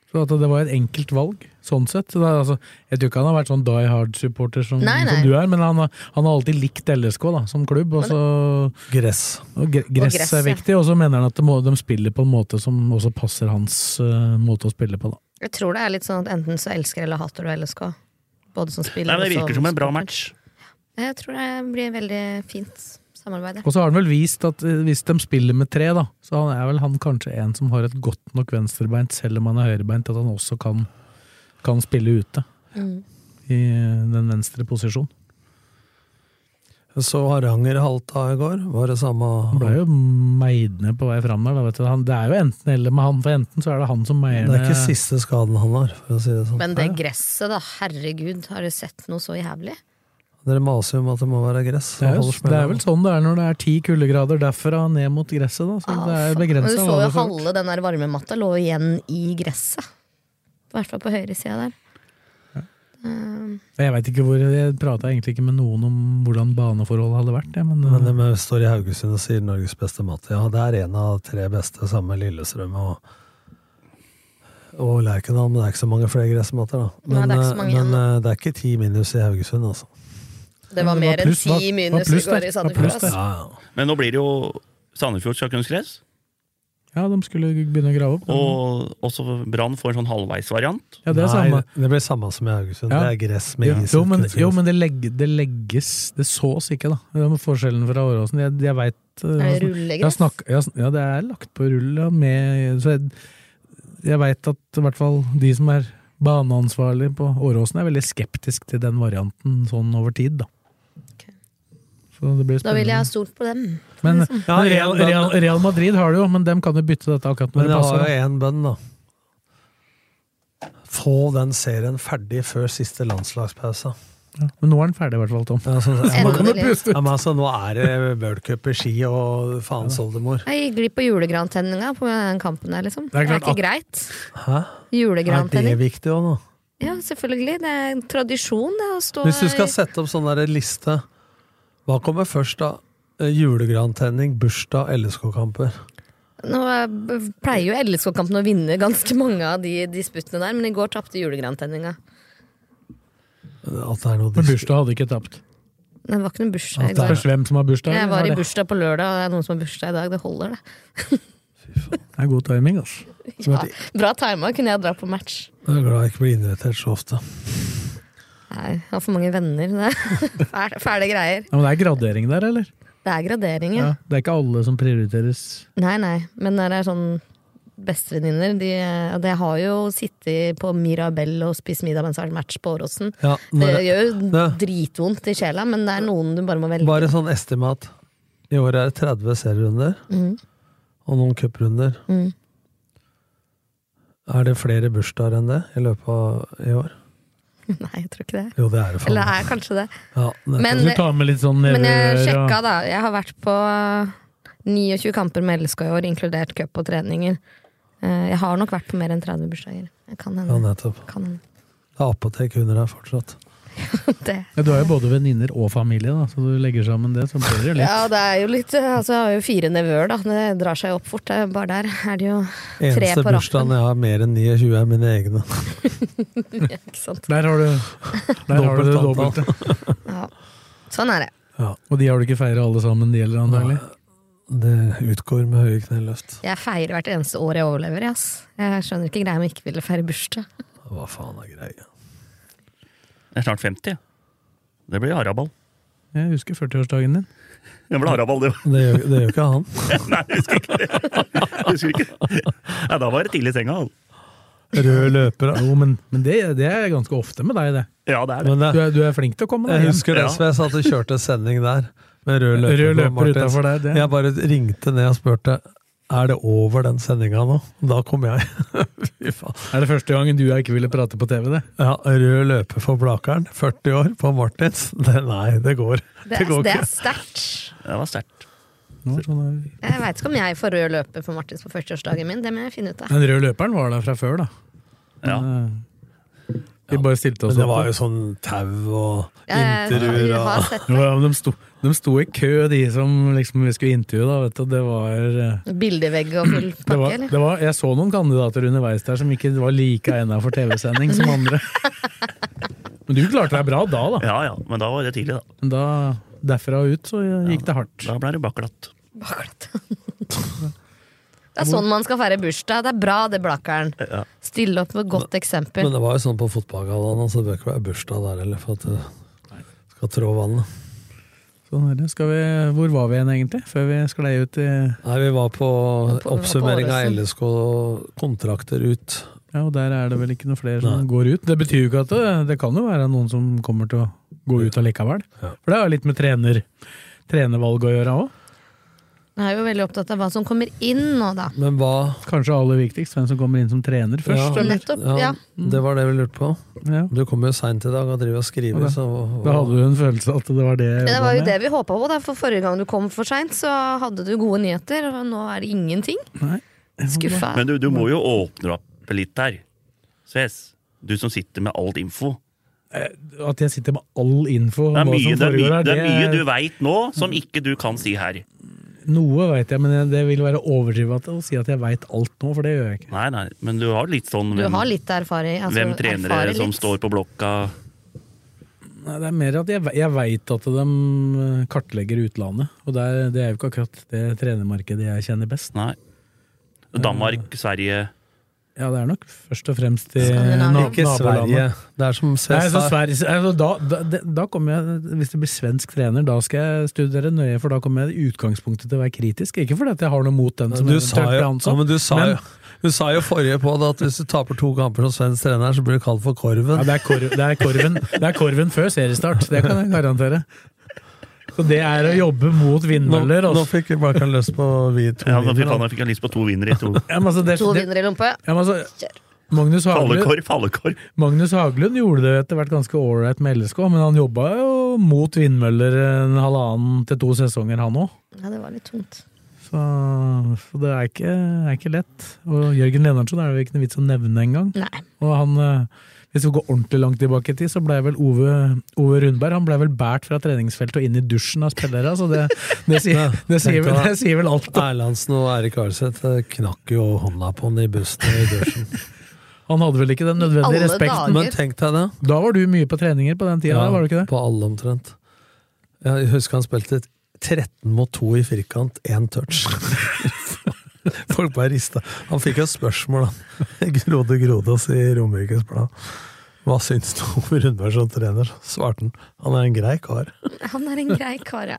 Så at det var et enkelt valg, sånn sett. Så det er, altså, jeg tror ikke han har vært sånn die hard-supporter som, Nei, nei. som du er, men han, har- han har alltid likt LSK da, som klubb. Og så, Gress. og gre- gress, gress, er ja. viktig, og så mener han at det må, de spiller på en måte som også passer hans eh, måte å spille på. da. Jeg tror det er litt sånn at enten så elsker eller hater du LSK. Både som spiller Nei, men Det og virker som en bra match. Jeg tror det blir veldig fint samarbeid. Og så har han vel vist at eh, hvis de spiller med tre, da, så han er vel han kanskje en som har et godt nok venstrebeint, selv om han er høyrebeint, at han også kan, kan spille ute. Mm. I eh, den venstre posisjonen. Så Haranger halta i går. Var det samme Han ble jo meid ned på vei fram der. Da, vet du. Han, det er jo enten eller med han, for enten så er det han som meier Det er ikke ned siste skaden han har, for å si det sånn. Men det gresset, da. Herregud, har du sett noe så jævlig? Dere maser jo om at det må være gress. det er, jo, Hold det er smellen. vel sånn det er når det er ti kuldegrader derfra ned mot gresset. Da. Så det er Ah, Men du begrensa så jo halve den der varmematta lå igjen i gresset. I hvert fall på høyre sida der. Jeg vet ikke hvor, jeg prata egentlig ikke med noen om hvordan baneforholdet hadde vært. Ja, men, Men de står i Haugesund og sier Norges beste mat. Ja, det er en av tre beste, sammen med Lillestrøm og, og Lerkendal. Men det er ikke så mange flere gressmatter, da. Nei, Men, det er ikke så eh, mange men igjen, da. eh, det er ikke ti minus i Haugesund, altså. Det var det var mer enn pluss, var- ti var minus i pluss der, går i var Sandefjord. altså. pluss der. ass. Men nå blir det jo Sandefjord skal kunne gress, eh, ja, de skulle begynne å grave opp. og også Brann får en sånn halvveisvariant. Ja, det er Nei, samme. det blir samme som i Haugesund. Ja. Det er gress med is. Jo, men, kunstgress. jo, men det, legg, det legges Det sås ikke, da. Det er forskjellen fra Åråsen. Jeg, jeg veit Er det Jeg har rullegress? snakk- jeg har sn- ja, det er lagt på rull. ja, Med, så jeg jeg veit at i hvert fall de som er Baneansvarlig på Åråsen er veldig skeptisk til den varianten sånn over tid, da. Så det blir Da ville jeg ha spennende. stolt på dem. Men, Ja, men Real, en bønn. Real, Real Madrid har det jo, men dem kan jo bytte dette akkurat når Men det jeg har passer. jo én bønn, da. Få den serien ferdig før siste landslagspause. da. Men nå er den ferdig, i hvert fall, Tom. Ja, sånn- ja, Nå men- kan du puste ja, men altså, nå er det World Cup i ski og faens oldemor. Jeg gikk glipp av julegrantenninga på den kampen der, liksom. Det er Det er klart at- ikke greit. Hæ? Er det Julegrantenning. viktig òg, nå? Ja, selvfølgelig. Det er en tradisjon, det, å stå Hvis du skal i- sette opp sånn der liste, hva kommer først, da? Eh, Julegrantenning, bursdag, LSK-kamper. Nå eh, b- pleier jo LSK-kampen å vinne ganske mange av de disputtene der, men i går tapte julegrantenninga. At det er noe Men dis- bursdag hadde ikke tapt. Det var ikke noen bursdag i Det går. spørs hvem som har bursdag. Jeg eller var har i det- bursdag på lørdag, og det er noen som har bursdag i dag. Det holder, det. Det er god timing, altså. Ja, bra tima, kunne jeg dra på match. Jeg er glad jeg ikke blir invitert så ofte. Nei, jeg har for mange venner. Det er fæle, fæle greier. Ja, men det er gradering der, eller? Det er gradering, Ja. ja. Det er ikke alle som prioriteres. Nei, nei. Men når det er sånn bestevenninner de, og det har jo sittet på Mirabel og spist middag mens det har vært match på Åråsen. Ja, Det når, gjør jo Nei. dritvondt i sjela, men det er noen du bare må velge. bare sånn estimat. I år er det 30 serierunder Mhm. og noen cuprunder. Mm. Er det flere bursdager enn det i løpet av i år? Nei, jeg tror ikke det. Jo, det er det faen. Eller er kanskje det. Ja, nettopp. Men, Du tar med litt sånn men jeg nedover, og- sjekka, da. Jeg har vært på 29 kamper med LSK i år, inkludert cup og treninger. Eh, Jeg har nok vært på mer enn 30 bursdager. Jeg Kan ja, hende. nettopp. Kan hende. Det er apotek under der fortsatt. Det Ja, du har jo både venninner og familie, da, så du legger sammen det, så blir det jo litt. Ja, det er jo litt eh, altså, Jeg har jo fire nevøer, da. Det drar seg opp fort. Det er Bare der er det jo tre Eneste på rappen. bursdagen jeg har mer enn 29, er mine egne. Ikke sant? Der har du, der har du det Dobbelt dobbelte. Ja. Sånn er det. Og de har du ikke feira alle sammen, de heller, antagelig? Det utgår med høye kneløft. Jeg feirer hvert eneste år jeg overlever. jeg, Ass. Jeg skjønner ikke greia med ikke ville feire bursdag. Hva faen er greia? Jeg er snart 50. jeg. Det blir haraball. Jeg husker 40-årsdagen din. Det blir haraball, det. Det gjør, det gjør ikke han. Nei, jeg husker ikke. Jeg husker ikke. Nei, da var det tidlig i senga. altså. Rød løper. da. Jo, men, men det, det er ganske ofte med deg, det. Ja, det er det. Men Du det, er, du er flink til å komme deg jeg hjem. husker det, Ja. så jeg satt og kjørte sending der. Med rød løper, Rød på løper Martins. utafor deg. Det. Jeg bare ringte ned og spurte er det over den sendinga nå. Da kom jeg. Fy faen. Er det første gangen du og jeg ikke ville prate på TV, det? Ja, rød løper for Blakeren, 40 år, på Martins. Det, nei, det går. Det er, går det ikke. er sterkt. Det var sterkt. Nå, er det sånn her. Jeg veit ikke om jeg får rød løper for Martins på førsteårsdagen min. Det må jeg finne ut av. Den røde løperen var der fra før, da. Ja. Men, eh, Vi bare stilte Men oss det var opp. jo sånn tau og Jeg, intervjuer jeg har og sett Jo, ja, men de, sto, de sto i kø, de som liksom, vi skulle intervjue. Da, vet du. Det var, eh, bildevegg og full det pakke, var, eller? det var Jeg så noen kandidater underveis der som ikke var like egna for TV-sending som andre. Men du klarte deg bra da, da. ja ja, men da var det tidlig, da. Men da derfra og ut så gikk det hardt. Da ble det bakglatt. Bakglatt. Det er sånn man skal feire bursdag. Det er bra, det, Blakkaren. Ja. Stille opp med godt Men eksempel. det var jo sånn på fotballgallaen, så det bør ikke være bursdag der heller for at det skal trå vannet. Sånn er det. Skal vi, hvor var vi igjen egentlig, før vi sklei ut i Nei, vi var på var på oppsummering av Ålesund. LSK LSK kontrakter ut. Ja, og der er det vel ikke noe flere som Nei. går ut. Det betyr jo ikke at det, det kan jo være noen som kommer til å gå ut allikevel. Ja. For det har jo litt med trener, trenervalg å gjøre òg. Jeg er jo veldig opptatt av hva som kommer inn nå, da. Men hva Kanskje aller viktigst hvem som kommer inn som trener først. Ja. eller? Nettopp, Ja, ja. Mm. det var det vi lurte på. Ja. Du kom jo seint i dag og driver og skriver, Ja, så Da hadde du en følelse at det var det jeg Men det jobbet var jo med. det vi håpa på, da. for forrige gang du kom for seint, så hadde du gode nyheter, og nå er det ingenting. Nei. Skuffa. Men du, du må jo åpne opp litt her. Sves, du som sitter med all info. At jeg sitter med all info Det om er hva mye, som det er foregår mye, her. det Mm. er mye du det- veit nå som ikke du kan si her. Noe veit jeg, men jeg- det vil være overdrivet å si at jeg veit alt nå, for det gjør jeg ikke. Nei, nei, men du har litt sånn Du hvem, har litt erfaring. Altså, hvem trenere erfarer som litt. står på blokka. Nei, det er mer at jeg, ve- jeg veit at de eh, kartlegger utlandet, og det er, det er jo ikke akkurat det trenermarkedet jeg kjenner best. Nei. Danmark, Sverige Ja, det er nok først og fremst i Skandinavia. na- Ikke Sverige. nabolandet. Det er som Nei, så Sverige. Sverige, altså, da, da, det- da kommer jeg, Hvis det blir svensk trener, da skal jeg studere nøye, for da kommer jeg i utgangspunktet til å være kritisk. Ikke fordi at jeg har noe mot den som Du eventuelt sa jo, ble ja, ansatt, men du sa men, jo Hun sa jo forrige på det at hvis du taper to kamper som svensk trener, så blir du kalt for Korven. Ja, det, er korv, det, er korven, det er korven før seriestart, det kan jeg garantere. Så det er å jobbe mot nå, vindmøller. nå Altså. fikk Blakan lyst på vi to. Ja, nå fikk vinner, han da. jeg fikk lyst på to vinnere i to. Ja, men altså, det, To det, vinnere i lompe. ja, men altså, Magnus Haglund, Fallekorv, fallekorv. Magnus Haglund gjorde det etter hvert ganske ålreit med LSK, men han jobba jo mot vindmøller en halvannen til to sesonger, han òg. Ja, det var litt tungt. Så, så det er ikke, er ikke lett. Og Jørgen Lennartsen er det jo ikke noe vits å nevne engang. Nei. Og han, eh, hvis vi går ordentlig langt tilbake i tid, så ble vel Ove, Ove Rundberg han ble vel båret fra treningsfeltet og inn i dusjen av spillere. Så det, det, sier, det, sier, vel, det sier vel alt. Erlandsen og Erik Arseth eh, knakk jo hånda på han i bussen og i dusjen. Han hadde vel ikke den Alle nødvendige respekten. dager. Men tenk deg det. Da var du mye på treninger på den tida, Ja, der, var du ikke det? På alle omtrent. Jeg husker han spilte 13 mot 2 i firkant, én touch. Folk bare rista. Han fikk jo spørsmål, han. Grode Grodås i Romerikes Blad. Hva syns du om Rundberg som trener? Svarte han. Han er en grei kar. Han er en grei kar, ja.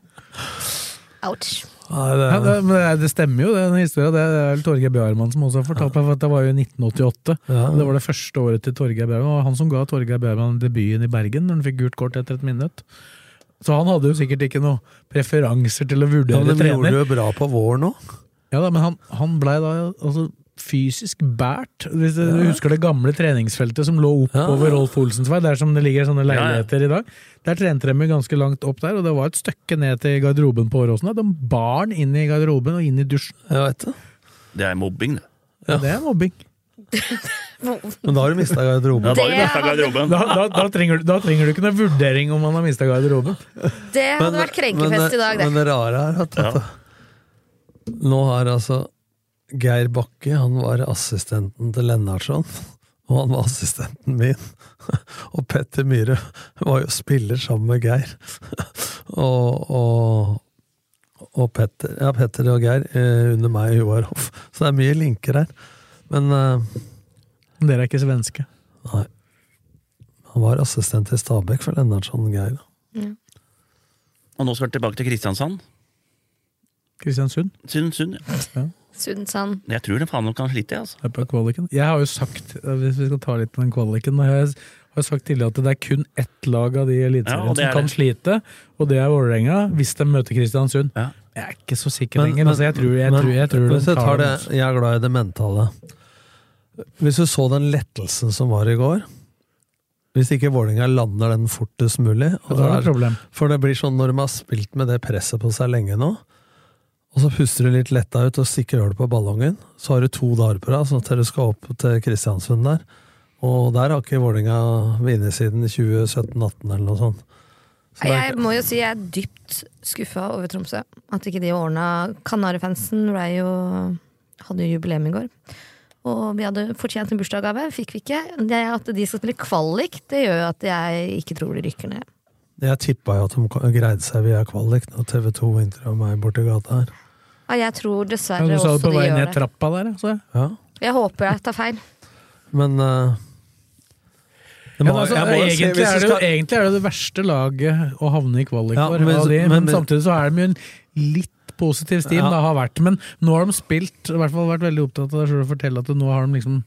Ouch. Nei, det, Ja, det, men det- det stemmer jo, det, den historien. Det er vel Torgeir Bjarmann som også har fortalt meg, for at det var jo i 1988. Ja. Og Det var det første året til Torgeir Bjarmann. Og han som ga Torgeir Bjarmann debuten i Bergen, når han fikk gult kort etter et minutt. Så han hadde jo sikkert ikke noen preferanser til å ja, vurdere men de gjorde trener. det jo bra på våren òg. Ja da, men han, han blei da altså, fysisk bært. Hvis du husker det gamle treningsfeltet som lå oppover Rolf Olsens vei, der som det ligger sånne leiligheter i dag. Der trente de jo ganske langt opp der, og det var et stykke ned til garderoben på Åråsen. da. De bar han inn i garderoben og inn i dusjen. Jeg vet det. Det er mobbing, det. Det er mobbing. Men da har du mista Ja, da garderoben. har vi Det mistet garderoben. Da, da, da, trenger, du- da trenger du ikke noen vurdering om han har mista garderoben. Det hadde vært krenkefest men- i dag, Men det. det rare er at, Ja. at nå har altså Geir Bakke, han var assistenten til Lennartson, og han var assistenten min. Og Petter Myhre var jo spiller sammen med Geir. Og, og, og Petter, ja, Petter og Geir eh, under meg i Joarhoff. Så det er mye linker her. Men eh, Men Dere er ikke svenske. nei. Han var assistent i Stabæk for Lennartson Geir. Og nå skal han tilbake til Kristiansand. Kristiansund. Sund, sund. ja. Sundsand. Jeg tror det faen nok han sliter, jeg, altså. Det er på kvaliken. Jeg har jo sagt, eh, hvis vi skal ta litt på den kvaliken, da har jeg har jeg sagt tidligere at det er kun ett lag av de i Ja, eliteserien og det som er kan det. slite, og det er Vålerenga, hvis de møter Kristiansund. Ja. Jeg er ikke så sikker Men- lenger. altså, jeg tror, jeg men- tror, jeg tror hvis de jeg, tar tar det, dem. jeg er glad i det mentale. Hvis du så den lettelsen som var i går Hvis ikke Vålerenga lander den fortest mulig Ja, og Da er det et det er- problem. For det blir sånn når de har spilt med det presset på seg lenge nå, og så puster du litt letta ut og stikker hull på ballongen, så har du to dager på deg sånn til du skal opp til Kristiansund der. Og der har ikke Vålerenga vunnet siden 2017-18 eller noe sånt. Så det er- Jeg må jo si jeg er dypt skuffa over Tromsø. At ikke de ordna Kanarifansen ble jo hadde jo jubileum i går. Og vi hadde fortjent en bursdagsgave, fikk vi ikke. Det at de skal spille kvalik, det gjør jo at jeg ikke tror de rykker ned. Jeg tippa jo at de greide seg via kvalik når TV 2 intervjua meg borti gata her. Ja, jeg tror Ja, dessverre du sa også det på de vei gjør ned det. trappa der, altså. ja, så jeg. Ja, Jeg håper jeg tar feil. men eh, det Ja, må- men altså, jeg må jo si- egentlig, hvis er du det, jo- skal- egentlig er det det verste laget å havne i kvalik Ja, for. men- av de, men, men- samtidig så er de jo en litt positiv stil Ja. det har vært. Men nå har de spilt, i hvert fall vært veldig opptatt av det selv å fortelle at nå har de liksom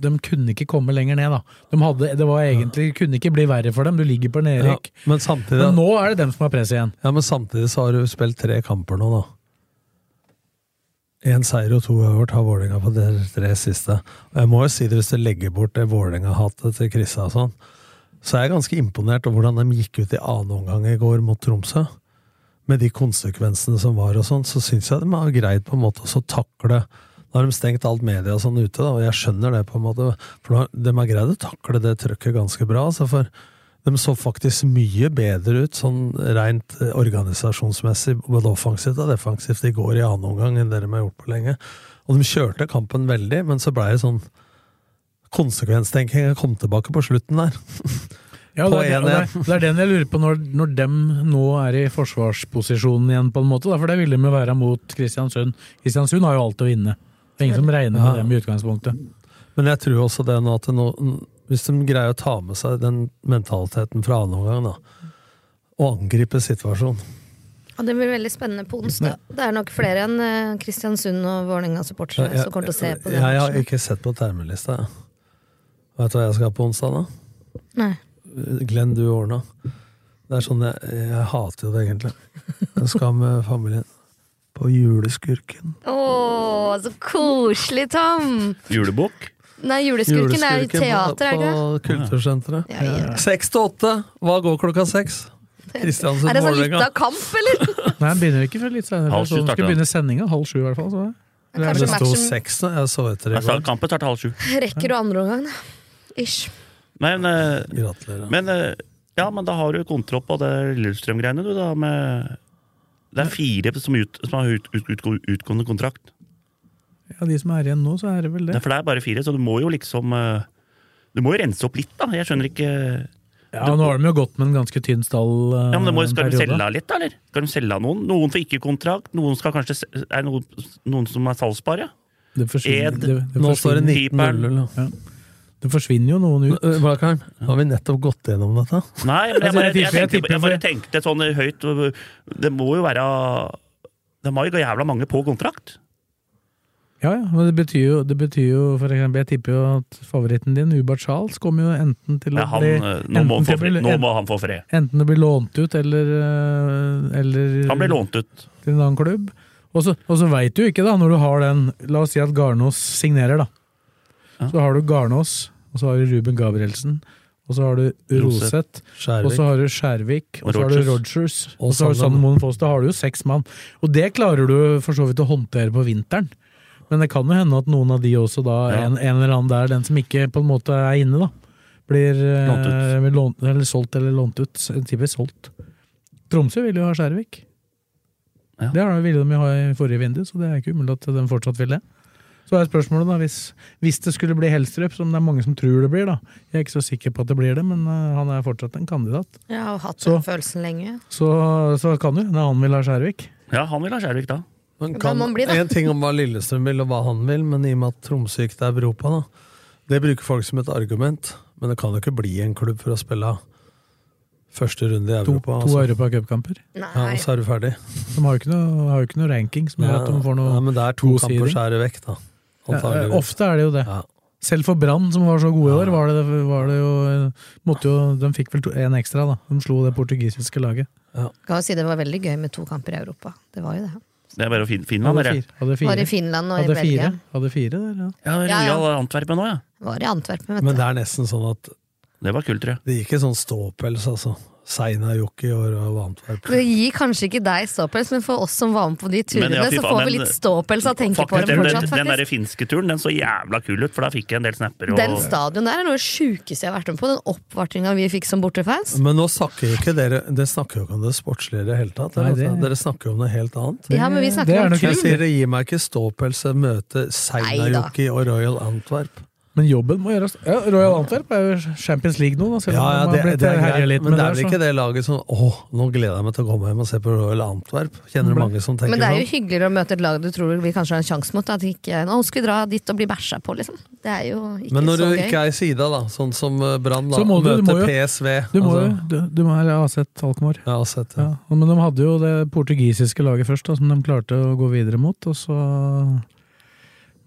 de kunne ikke komme lenger ned, da. De hadde, det var egentlig, kunne ikke bli verre for dem. Du ligger på ja, nedrykk. men, samtidig, Men nå er det dem som har press igjen. ja, men samtidig så har du spilt tre kamper nå, da. Én seier og to uavgjort har Vålerenga på de tre siste. Og jeg må jo si det hvis du legger bort det Vålerenga-hatet til Krissa og sånn, så er jeg ganske imponert over hvordan de gikk ut i annen omgang i går mot Tromsø. med de konsekvensene som var og sånn, så syns jeg de har greid på en måte også å takle Nå har de stengt alt media og sånn ute, da, og jeg skjønner det, på en måte. For nå har- de har greid å takle det trøkket ganske bra. Altså for de så faktisk mye bedre ut sånn rent eh, organisasjonsmessig, både offensivt og defensivt, i går i annen omgang enn det de har gjort på lenge. Og de kjørte kampen veldig, men så blei det sånn Konsekvenstenkinga kom tilbake på slutten der. Ja, På det, er, en det, er, det er den jeg lurer på, når, når dem nå er i forsvarsposisjonen igjen, på en måte. Da, for det ville de jo være mot Kristiansund. Kristiansund har jo alt å vinne. Det er ingen som regner med Ja. dem i utgangspunktet. Men jeg tror også det nå at det nå, hvis de greier å ta med seg den mentaliteten fra annen omgang, da, og angripe situasjonen Og det blir veldig spennende på onsdag. Det er nok flere enn eh, Kristiansund og Vålerenga-supportere som kommer til å se på det. Jeg, jeg har matchen. ikke sett på termelista, jeg. Vet du hva jeg skal på onsdag, da? Nei. Glenn, du ordna. Det er sånn jeg, jeg hater jo det, egentlig. Jeg skal med familien på Juleskurken. Å, så koselig, Tom! Julebukk? Nei, Juleskurken er Juleskurken teater, er det ikke? På, på Kultursenteret. Ja, ja. Seks til åtte! Hva går klokka seks? det? Kristiansund Er det sånn Vålerenga. lita kamp, eller? Nei, den begynner ikke før litt senere. Halv Halv sju sju starter skal den. begynne sendinga halv sju, i hvert fall. Så. Det er Det kanskje sto matchen seks da jeg så etter i Jeg sa går. kampen starter halv sju. rekker å andre omgang, da. Ish. Men, eh, Gratulerer. men eh, ja, men da har du kontroll på det Lillestrøm-greiene, du, da, med Det er fire som, ut, som har ut, ut, ut, utgående kontrakt. Ja, De som er igjen nå, så er det vel Det det. er for det er bare fire, så du må jo liksom eh, Du må jo rense opp litt, da. Jeg skjønner ikke Ja, Nå har de jo gått med en ganske tynn stall. eh, Ja, men det må, Skal de periode. selge av litt, da? eller? Skal de selge av noen? Noen får ikke kontrakt, noen skal kanskje se- Er noen, noen som er salgsbare? Det forsvinner, Ed. det, det, Nå står det forsvinner, 19-0. da. det forsvinner jo noen ut. Øh, Blakkaren, nå har vi nettopp gått gjennom dette. Nei, men jeg bare, Altså, jeg, jeg tipper- jeg tenkte, jeg bare tipper- tenkte sånn høyt Det må jo være De har jo jævla mange på kontrakt. Ja, ja, men det betyr jo, det betyr jo for eksempel, Jeg tipper jo at favoritten din, Ubert Charles, kommer jo enten til Ja, å han, bli eh, nå, må han få til å fred. bli- nå må han få fred. Enten å bli lånt ut eller, eh, eller Han ble lånt ut. til en annen klubb. Og så, og så veit du ikke, da, når du har den La oss si at Garnås signerer, da. Ja. Så har du Garnås, og så har du Ruben Gabrielsen, og så har du Roseth. Roseth, og Skjærvik. så har du Skjærvik, og så har du Rogers, Og og så har du Sanden. Sanden Moen Foss. Da har du jo seks mann. Og det klarer du for så vidt å håndtere på vinteren. Men det kan jo hende at noen av de også, da, Ja. en, en eller annen der, den som ikke på en måte er inne, da, blir eh, Lånt ut. blir lånt, eller solgt eller lånt ut. Typisk solgt. Tromsø vil jo ha Skjærvik. Ja. Det har de- ville de jo ha i forrige vindu, så det er ikke umulig at de fortsatt vil det. Så er spørsmålet, da, hvis, hvis det skulle bli Helstrup, som det er mange som tror det blir, da. Jeg er ikke så sikker på at det blir det, men eh, han er fortsatt en kandidat. Jeg har hatt Så- den følelsen lenge. Så, så kan du. Nei, han vil ha Skjærvik. Ja, han vil ha Skjærvik da. Man Da kan, må man bli, da. En ting om hva Lillestrøm vil, og hva han vil, men i og med at Tromsø gikk til Europa, da. Det bruker folk som et argument, men det kan jo ikke bli en klubb for å spille første runde i To, Europa. to altså. europacupkamper. Ja, Nei. og så er du ferdig. De har jo ikke noe, har jo ikke noe ranking som gjør at de får noe Nei, men det er to god kamper seeding. skjære vekk, da. ja, eh, Antageligvis. Ofte er det jo det. Ja. Selv for Brann, som var så gode i år, var det, var det jo, måtte jo De fikk vel to- en ekstra, da. De slo det portugisiske laget. Kan jo si det var veldig gøy med to kamper i Europa. Det var jo det. Det er bare å finne, finne han, Hadde dere. fire. Hadde Var i fire, Finland og i hadde fire, Belgia. hadde fire der, ja. Ja, Ja, ja. Royal Antwerpen òg, ja. Var i Antwerpen, Men vet du. det er nesten sånn at Det var kult, tror jeg. det gikk en sånn ståpels, altså. Seina Jokke i år og Antwerp. Det gir kanskje ikke deg ståpels, men for oss som var med på de turene, Men ja, fy så faen, får vi den- litt ståpels av å tenke på Faktisk, det den, den, fortsatt, den der faktisk. finske turen den så jævla kul ut, for da fikk jeg en del snapper. Og, Den stadion der er noe av det sjukeste jeg har vært med på. Den oppvartringa vi fikk som bortefans. Men nå snakker jo ikke dere Dere snakker jo ikke om det sportslige i det hele tatt. Nei, det- altså. Dere snakker jo om noe helt annet. Ja, men det vi er snakker om nok- Jeg Kul. kul. sier det gir meg ikke ståpels å møte Neida. Seinajoki og Royal Antwerp. Men jobben må gjøres. Ja, Royal Antwerp er jo Champions League nå, da, selv om Ja, ja, de det, har blitt det er herjet greit, litt men med det er vel så- ikke det laget som Å, nå gleder jeg meg til å komme hjem og se på Royal Antwerp. Kjenner du mange som Men det tenker er jo sånn? hyggeligere å møte et lag du tror vi kanskje har en sjanse mot. At ikke, nå skal vi dra dit og bli bæsja på, liksom. Det er jo ikke Men når du så gøy. ikke er i sida, da, sånn som eh, Brann, da, Så må du- du må møter jo- PSV Du må jo altså, du, du må ha sett Alkmaar. Jeg har sett det. Ja, men de hadde jo det portugisiske laget først, da, som de klarte å gå videre mot. Og så...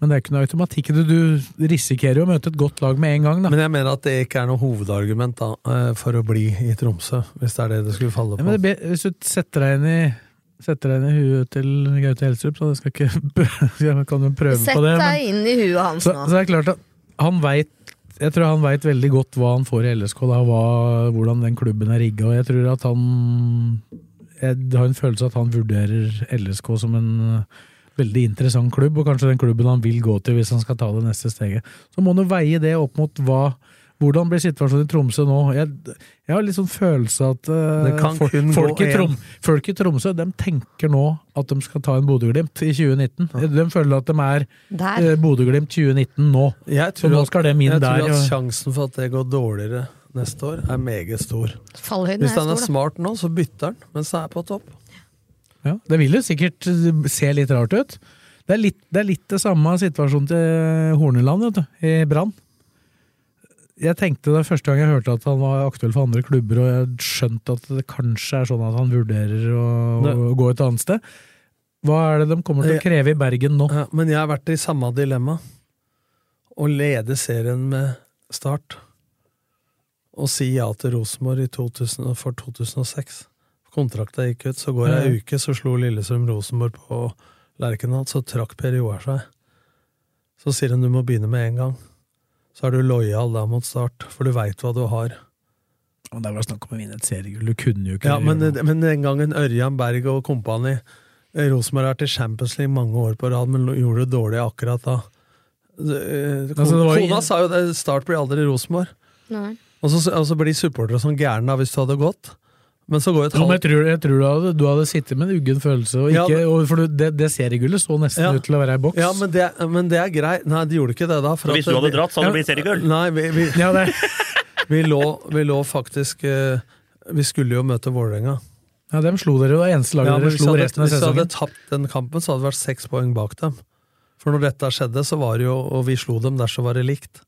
Men det er ikke noe automatikk. i det. Du risikerer jo å møte et godt lag med en gang. Da. Men, Men jeg mener at det ikke er noe hovedargument da, eh, for å bli i Tromsø, hvis det er det det skulle falle ja, men på. det, er be- hvis du setter deg inn i Setter deg inn i huet til Gaute Helstrup, så det skal ikke, jeg kan jo prøve Sett på det. Men, deg inn i huet hans så, nå. så det er klart at han vet Jeg tror han veit veldig godt hva han får i LSK, da, hva, hvordan den klubben er rigga. Og jeg tror at han Jeg har en følelse at han vurderer LSK som en eh, veldig interessant klubb, og kanskje den klubben han vil gå til hvis han skal ta det neste steget. Så må han jo veie det opp mot hva hvordan blir situasjonen i Tromsø nå? Jeg, jeg har litt sånn følelse at eh, Det kan folk, kun folk, gå i Trom, folk i Tromsø de tenker nå at de skal ta en Bodø-Glimt i 2019. De føler at de er Der. eh, Bodø-Glimt 2019 nå. Jeg Så tror, nå at, skal dem inn jeg tror der. at og- sjansen for at det går dårligere neste år, er meget stor. Fallhøyden Hvis er han er stor, da. smart nå, så bytter han mens han er på topp. Ja, det vil jo sikkert eh, se litt rart ut. Det er litt det, er litt det samme situasjonen til Horneland vet du, i Brann. jeg tenkte det første gang jeg hørte at han var aktuell for andre klubber, og jeg skjønte at det kanskje er sånn at han vurderer å, Det- å gå et annet sted. Hva er det de kommer til å kreve i Bergen nå? Ja, men jeg har vært i samme dilemma. Å lede serien med Start og si ja til Rosenborg i 2000, og for 2006. Kontrakta gikk ut, så går det ei Ja. uke, så slo Lillestrøm Rosenborg på Lerkendal, så trakk Per Joar seg. Så sier han du må begynne med en gang. Så er du lojal da mot Start, for du veit hva du har. Men Det var snakk om å vinne et seriegull, du kunne jo ikke Ja, men, gjøre noe. men den gangen Ørjan Berg og kompani eh, Rosenborg har vært i Champions League mange år på rad, men lo- gjorde det dårlig akkurat da. Eh, Kon- Altså, det var- Kona sa jo det, Start blir aldri Rosenborg. Nei. Og så, og så blir supportere som gærne da, hvis du hadde gått. Men så går jo et Jo, men jeg halvt tror, jeg tror du, hadde, du hadde sittet med en uggen følelse. Og Ja, ikke, men- og for du- det, det seriegullet så nesten Ja. ut til å være ei boks. ja, men det, men det er greit. Nei, de gjorde ikke det da. for Så at hvis du hadde vi- dratt, så hadde det blitt seriegull. Nei, vi, vi, Ja, det, vi, lå, vi lå faktisk eh, Vi skulle jo møte Vålerenga. ja, dem slo dere, og det eneste laget Ja, men dere hvis slo hadde, resten av hvis jeg sesongen. hadde tapt den kampen, så hadde det vært seks poeng bak dem. For når dette skjedde, så var det jo, og vi slo dem der, så var det likt.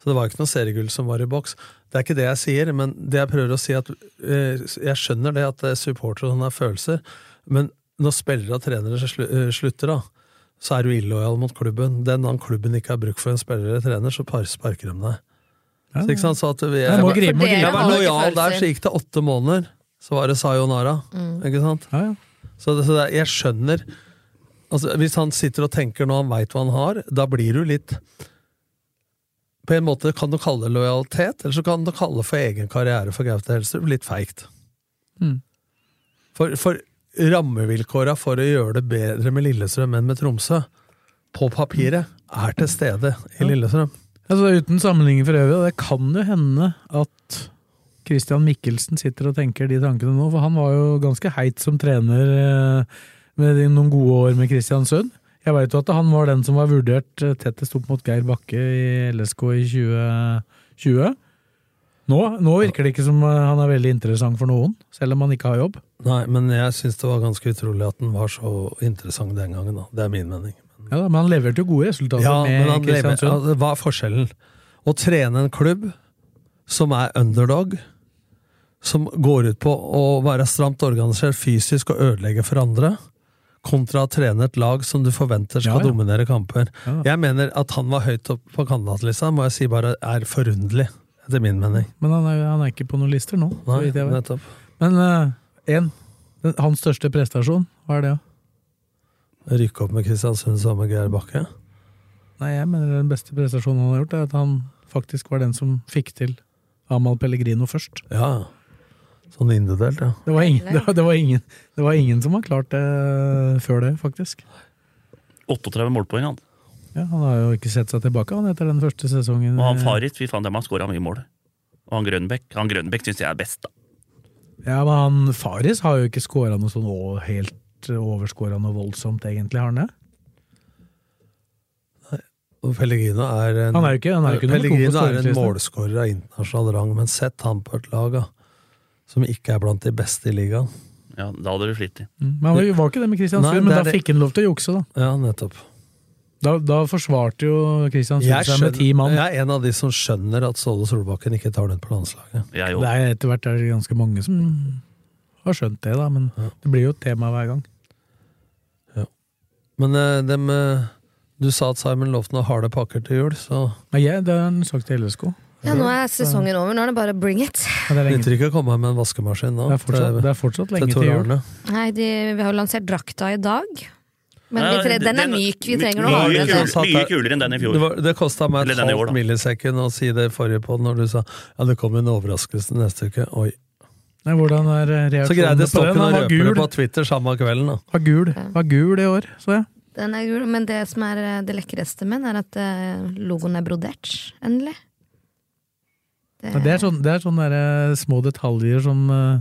Så det var ikke noe seriegull som var i boks. Det er ikke det jeg sier, men det jeg prøver å si, at eh, jeg skjønner det at det er supportere og sånne følelser, men når spillere og trenere slu- eh, slutter, da, så er du illojal mot klubben. Den dagen klubben ikke har bruk for en spiller eller trener, så par sparker de deg. Så, ikke sant? så at vi, Jeg må jeg, gripe, må For dere gripe. var har jo ikke lojal der, følelser. så gikk det åtte måneder. Så var det sayonara. Ikke sant? Ja, ja. Så, det, så det, jeg skjønner altså, Hvis han sitter og tenker når han veit hva han har, da blir du litt På en måte kan du kalle det lojalitet, eller så kan du kalle det for egen karriere for Gaute Helstrup. Litt feigt. Mm. For, for rammevilkåra for å gjøre det bedre med Lillestrøm enn med Tromsø, på papiret, er til stede i Lillestrøm. Altså, uten sammenligning for øvrig, og det kan jo hende at Christian Mikkelsen sitter og tenker de tankene nå, for han var jo ganske heit som trener eh, med de- noen gode år med Kristiansund. Jeg veit jo at han var den som var vurdert eh, tettest opp mot Geir Bakke i LSK i 2020. Nå, nå virker det ikke som eh, han er veldig interessant for noen, selv om han ikke har jobb. Nei, men jeg syns det var ganske utrolig at den var så interessant den gangen. Da. Det er min mening. Ja da, Men han leverte jo gode resultater Ja, men Altså, han med lever, Kristiansund. altså, hva er forskjellen? Å trene en klubb som er underdog, som går ut på å være stramt organisert fysisk og ødelegge for andre, kontra å trene et lag som du forventer skal Ja, ja. dominere kamper. Ja. Jeg mener at han var høyt opp på kandidatlista, må jeg si bare er forunderlig, etter min mening. Men han er, han er ikke på noen lister nå. så Nei, vidt jeg vet. nettopp. Men én. hans største prestasjon, hva er det? Rykke opp med Kristiansund sammen med Geir Bakke. Nei, jeg mener Den beste prestasjonen han har gjort, er at han faktisk var den som fikk til Amahl Pellegrino først. Ja, sånn individuelt, ja. Det var, ingen, det, var, det, var ingen, det var ingen som har klart det eh, før det, faktisk. 38 målpoeng, han. Ja, Han har jo ikke sett seg tilbake han etter den første sesongen. Og han Farid, fy faen, dem har skåra mye mål. Og han Grønbekk. Han Grønbekk syns jeg er best, da. Ja, men han Faris har jo ikke scora noe sånn å- helt overskåra noe voldsomt, egentlig, har han det? Og Pellegrino er en, Han er jo ikke- han er jo ikke nummer to på Pellegrino er en skåringslisten. målskårer av internasjonal rang, men sett han på et lag da, som ikke er blant de beste i ligaen. Ja, da hadde du slitt. i. Mm. Men han var, var ikke det med Nei, Kristiansund, det men er da det- fikk han lov til å jukse, da. Ja, nettopp. Da, da forsvarte jo Kristiansund seg med ti mann. jeg er en av de som skjønner at Ståle Solbakken ikke tar den på landslaget. Jeg Det òg. er etter hvert er det ganske mange som har skjønt det, da, men det blir jo et tema hver gang. Men eh, dem, eh, du sa at Simon lovte noen harde pakker til jul, så Men jeg, det har han sagt til LSK. Ja, Ja, nå er sesongen over. Nå er det bare bring it. Det er, det lenge, nytter ikke å komme med en vaskemaskin nå. det er, fortsatt, det er fortsatt lenge til jul. Nei, de, vi har jo lansert drakta i dag. Men vi tre, den er myk. Vi trenger noe mye mye, hardere. kul, kul. hardere. mye kulere enn den i Det, fjor. var- det kosta meg et Eller den i år, halvt da. millisekund å si det i forrige podd når du sa ja, det kommer en overraskelse neste uke. Oi. Nei, hvordan er Så reaksjonene greide på den? Stokken å Han var røpe det gul, på Twitter samme kvelden, da. var gul, var gul i år, så jeg. Den er gul, men det som er eh, det lekreste med den, er at eh, logoen er brodert. Endelig. Det, Men Det er sånn- det er sånne der, eh, små detaljer som, eh,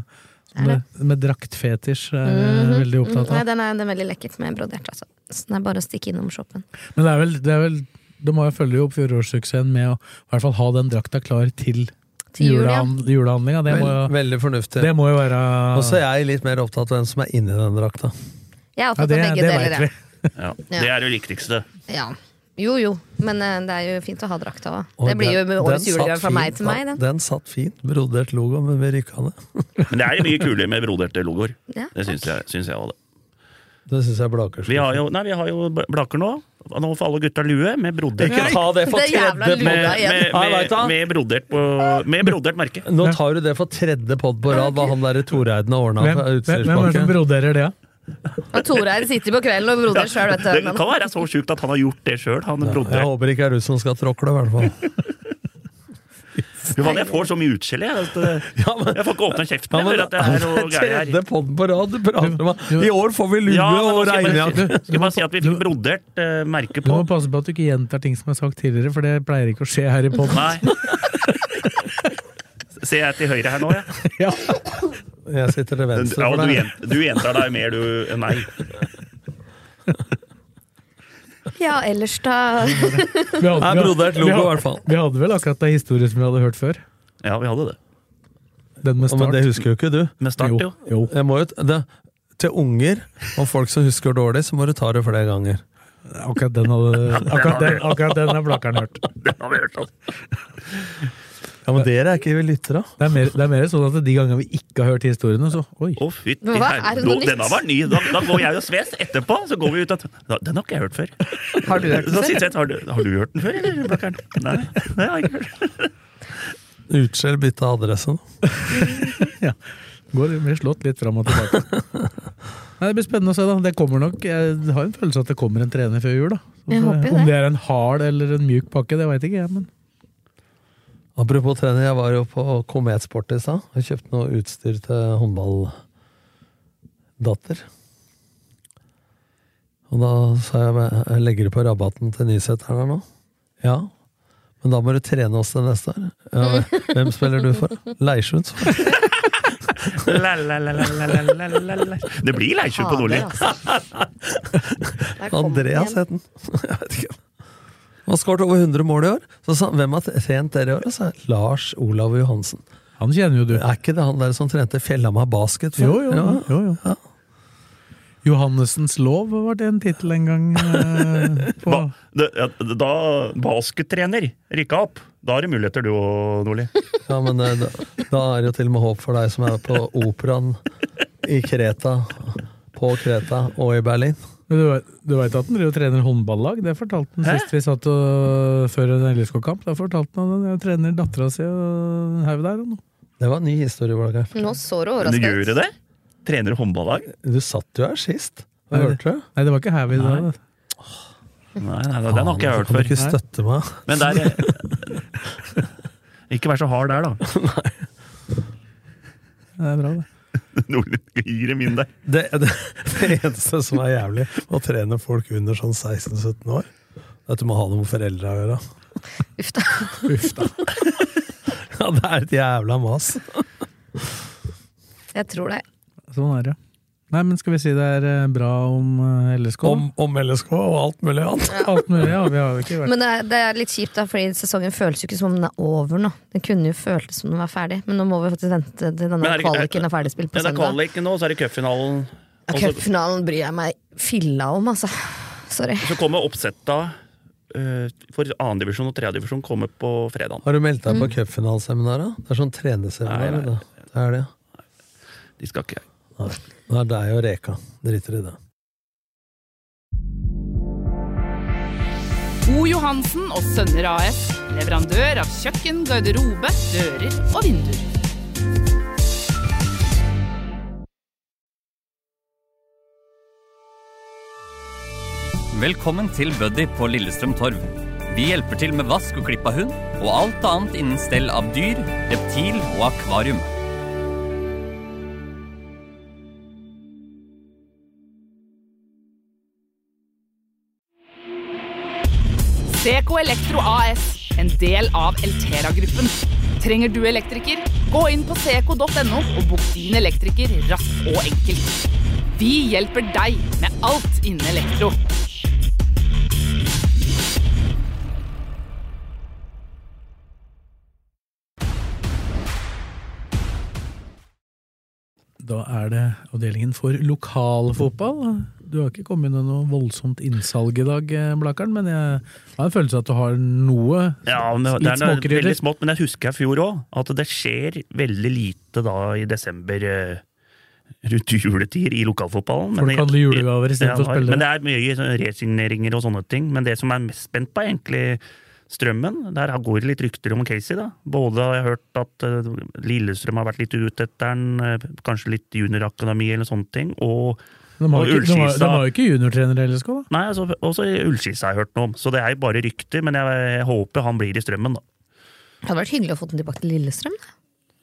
som Er med, med draktfetisj er eh, Mhm. veldig Mm, opptatt Nei, av. den er, den er veldig lekkert med brodert, altså. Så den er bare å stikke innom shoppen. Men det er vel, det er vel de må jo følge opp fjorårssuksessen med å i hvert fall ha den drakta klar til, Til jul, ja. julehan- julehandlinga. Det, må Vel- jo- Veldig fornuftig. det må jo være Og så er jeg litt mer opptatt av hvem som er inni den drakta. Jeg er Ja, opptatt det, av begge det deler, veit vi. jeg. Ja. Det er det viktigste. Ja. Jo jo, men eh, det er jo fint å ha drakta òg. Og Det blir jo den- den årets satt julegave fra meg fint, til meg, den. Den satt fint. Brodert logo, men vi rykka ned. Men det er mye kulere med broderte logoer. Ja, Det syns jeg, syns jeg også, det. Det syns jeg Blaker Vi har jo, nei, vi har jo blaker nå. Nå får alle gutta lue med brodert. Ikke ta det for Det er jævla Med, tredje lua pod. igjen. med, Ja, vet med, du hva? med brodert, på, med brodert merke. Nå tar du det for tredje pod på rad, hva han derre Toreiden har ordna Hvem, fra hvem, hvem er det som utstyrspakke. broderer det? da? Og Toreid sitter på kvelden og broder sjøl, vet Det du. kan Men være så sjukt at han har gjort det sjøl. Han Jeg brodert. håper ikke det er du som skal tråkle, i hvert fall. Jo, faen, jeg får så mye utskjell, jeg. at, eh, Ja, men- Jeg får ikke åpna kjeften. Ja, jeg, for men at det er noe greier her. Tredje pod på rad, du prater om Du- I år får vi lue Ja, men og nå skal jeg bare, regnjakke. skal jeg bare si at vi fikk brodert eh, merke Du på. må passe på at du ikke gjentar ting som er sagt tidligere, for det pleier ikke å skje her i podden. Nei. Ser jeg til høyre her nå, ja? Ja. Jeg sitter til venstre ja og for du, deg. gjent- du gjentar deg mer du enn meg. ja, ellers da Mm, Vi hadde, Nei, brodert logo, i hvert fall. vi hadde vel akkurat en historie som vi hadde hørt før. Ja, vi hadde det. Den med Ja, Men start. det husker jo ikke du. Med start, jo. jo. Jeg må jo, t- det, til unger og folk som husker dårlig, så må du ta det flere ganger. Akkurat den, hadde, akkurat den, akkurat den har Blakkaren hørt. Det har vi hørt om. Ja, Men dere er ikke lyttere. Det er, mer, det er mer sånn at de gangene vi ikke har hørt historiene, så oi. Å, fytti Hva er herre. det noe Nå- nytt? Denne var ny. Da, da går jeg og sves etterpå, så går vi ut og da, Den har ikke jeg hørt før. Har du hørt Så den før? sitter jeg, har, du, har du hørt den før, eller? Blakkaren? Nei, det har jeg ikke hørt. Utskjell bytte adresse. nå. Går, blir slått litt fram og tilbake. Nei, det blir spennende å se. da. Det kommer nok, Jeg har en følelse at det kommer en trener før jul. da. Så eh, Jeg håper jo Om det. det er en hard eller en mjuk pakke, det veit ikke jeg. men... Apropos trener, jeg var jo på Kometsport i stad og kjøpte noe utstyr til håndballdatter. Og da sa jeg jeg legger det på rabatten til Nyseter der nå. Ja, men da må du trene oss til neste år. Ja, hvem spiller du for? Leirsund. sa jeg. La, la, la, la, la, la, la, la. Det blir Leirsund på Nordli. Fader, altså. Der kom den Andreas igjen. het den. Jeg vet ikke. Han har skåret over 100 mål i år. Så sa han, hvem har trent dere i år? Så sa jeg, Lars Olav Johansen. Han kjenner jo du. Er ikke det han der som trente Fjellhamar basket? for? Jo, jo, Ja. jo, jo. Ja. Johannessens lov var det en tittel en gang. eh, på. Ba, det- ja, da baskettrener rykka opp, da har du muligheter, du òg, Nordli. Ja, men eh, da, da er det jo til og med håp for deg som er på operaen i Kreta, på Kreta og i Berlin. Men Du, vet- du veit at han driver og trener håndballag? Det fortalte han sist vi satt og, før en LSK-kamp. Da fortalte han at han trener dattera si og en haug der. og noe. Det var en ny historie, Blakkar. Nå så du Men du gjør overraska jo ut. det? Trener håndballag? Du satt jo her sist. Hva Nei, hørte du? Nei, det var ikke haug i Nei. dag. da. Nei, nei, nei, den har ikke jeg hørt Kan du før. ikke støtte meg? Men der eh, Ikke vær så hard der, da. Det er bra, det. Nordli gir dem inn der. Det, det, det eneste som er jævlig med å trene folk under sånn 16-17 år, er at du må ha noe med foreldre å gjøre. Uff da. Uff da. Ja, det er et jævla mas. Jeg tror det. Sånn er det. Nei, men skal vi si det er eh, bra om eh, LSK? da? Om, om LSK og alt mulig annet. alt mulig, ja. Vi har jo ikke vært Men det er, det er litt kjipt, da, fordi sesongen føles jo ikke som om den er over nå. Den kunne jo føltes som den var ferdig, men nå må vi faktisk vente til Men denne er det ikke- kvaliken er ferdigspilt Ja, på det er søndag. kvaliken nå, så er det cupfinalen. Ja, Og så- Cupfinalen bryr jeg meg filla om, altså. Sorry. Så kommer oppsetta eh, for annendivisjon og tredjedivisjon kommer på fredag. Har du meldt deg på cupfinalseminaret? Det er sånn Nei, trenerseminar. nei. det. Det er det. De skal ikke Nei. Nei, det er jo reka. Driter i det. O. Johansen og Sønner AS. Leverandør av kjøkken, garderobe, dører og vinduer. Velkommen til Buddy på Lillestrøm Torv. Vi hjelper til med vask og klipp av hund, og alt annet innen stell av dyr, reptil og akvarium. Seko Elektro AS, en del av Eltera-gruppen. Trenger du elektriker? Gå inn på seko.no og bok din elektriker raskt og enkelt. Vi hjelper deg med alt innen elektro. Da er det avdelingen for lokalfotball. du har ikke kommet med noe voldsomt innsalg i dag, eh, Blakkaren, men jeg har en følelse av at du har noe Ja, men det litt er noe- småkrydder. veldig smått, men jeg husker i fjor òg at det skjer veldig lite da i desember eh, rundt juletider i lokalfotballen. Folk jeg- handler julegaver i stedet for Men spillere. det er mye sånn resigneringer og sånne ting. Men det som jeg er mest spent på, er egentlig Strømmen. Der går det litt rykter om Casey. da. Både har jeg hørt at eh, Lillestrøm har vært litt ute etter han, eh, kanskje litt juniorakademi eller sånne ting. og De har og jo ikke, de har- Ullskisa- de har jo ikke juniortrener i LSK, da. Nei, altså, også Ullskis har jeg hørt noe om, så det er jo bare rykter, men jeg, jeg håper han blir i strømmen, da. hadde vært hyggelig å få den tilbake til Lillestrøm. da.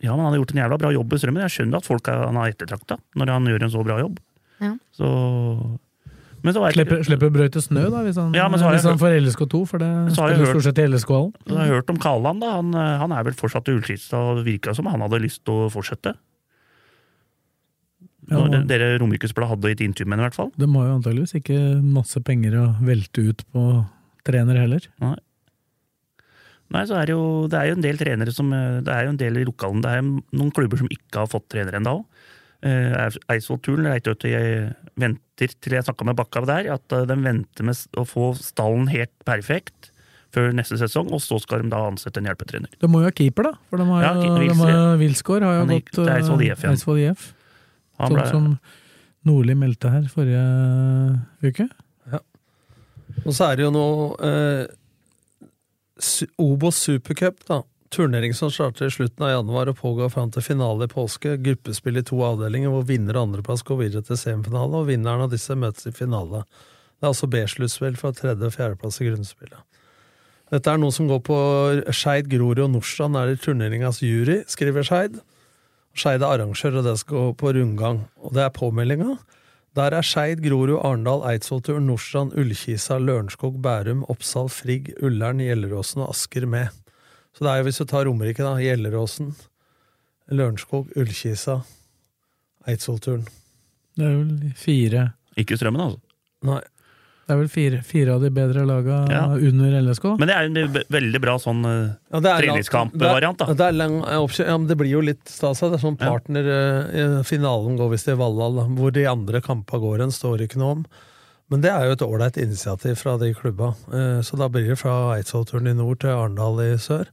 Ja, men han har gjort en jævla bra jobb i strømmen. Jeg skjønner at folk er, han er ettertrakta når han gjør en så bra jobb. Ja. Så... Men så har jeg, Slipper, slipper brøyte snø, da, hvis han, Ja, men så har jeg hvis han hørt- får LSK2, for det Så har jeg spiller hørt- stort sett i LSK-hallen. så har jeg hørt om Kaland, da. Han, eh, han er vel fortsatt i Ullskisa, og det virka som han hadde lyst til å fortsette. Ja, Når og- dere Romerikesbladet hadde et intervju med ham, i hvert fall. De har jo antageligvis ikke masse penger å velte ut på trener heller. Nei. Nei, så er det, jo, det er jo en del trenere som eh, Det er jo en del i lokalen. Det er noen klubber som ikke har fått trener ennå. Eh, Eidsvoll Turn leter etter jeg venter til jeg snakka med Bakka der, at eh, de venter med s- å få stallen helt perfekt før neste sesong, og så skal de da ansette en hjelpetrener. De må jo ha keeper, da. For de har, Ja, jo- Wilsgård. de har, jo- Wilsgård har jo Han gikk gått eh, til Eidsvoll IF, ja. Eidsvoll IF. Han Sånn ble- som Nordli meldte her forrige uke. Og så er det jo nå eh, Su- Obos Supercup, da. Turnering som starter i slutten av januar og pågår fram til finale i påske. Gruppespill i to avdelinger, hvor vinner og andreplass går videre til semifinale, og vinneren av disse møtes i finale. Det er altså B-sluttspill for tredje- og fjerdeplass i grunnspillet. Dette er noe som går på Skeid, Grorud og Nordstrand er i turneringas jury, skriver Skeid. Skeid er arrangør, og det skal gå på rundgang. Og det er påmeldinga. Der er Skeid, Grorud, Arendal, Eidsvollturen, Nordstrand, Ullkisa, Lørenskog, Bærum, Oppsal, Frigg, Ullern, Gjelleråsen og Asker med. Så det er jo hvis du tar Romerike, da. Gjelleråsen, Lørenskog, Ullkisa, Eidsvollturen. Det er vel fire Ikke strømmen, altså. Nei. Det er vel fire, fire av de bedre laga Ja. under LSK. Men det er jo en ve- veldig bra sånn eh, Ja, det er lang- treningskampvariant, det er- da. Det, er lang, ja, oppkjø- ja, men det blir jo litt stas. da. Det er sånn Ja. partner eh, i Finalen går visst i Valhall, da. hvor de andre kampa går hen, står det ikke noe om. Men det er jo et ålreit initiativ fra de klubba. Eh, Så da blir det fra Eidsvollturen i nord til Arendal i sør.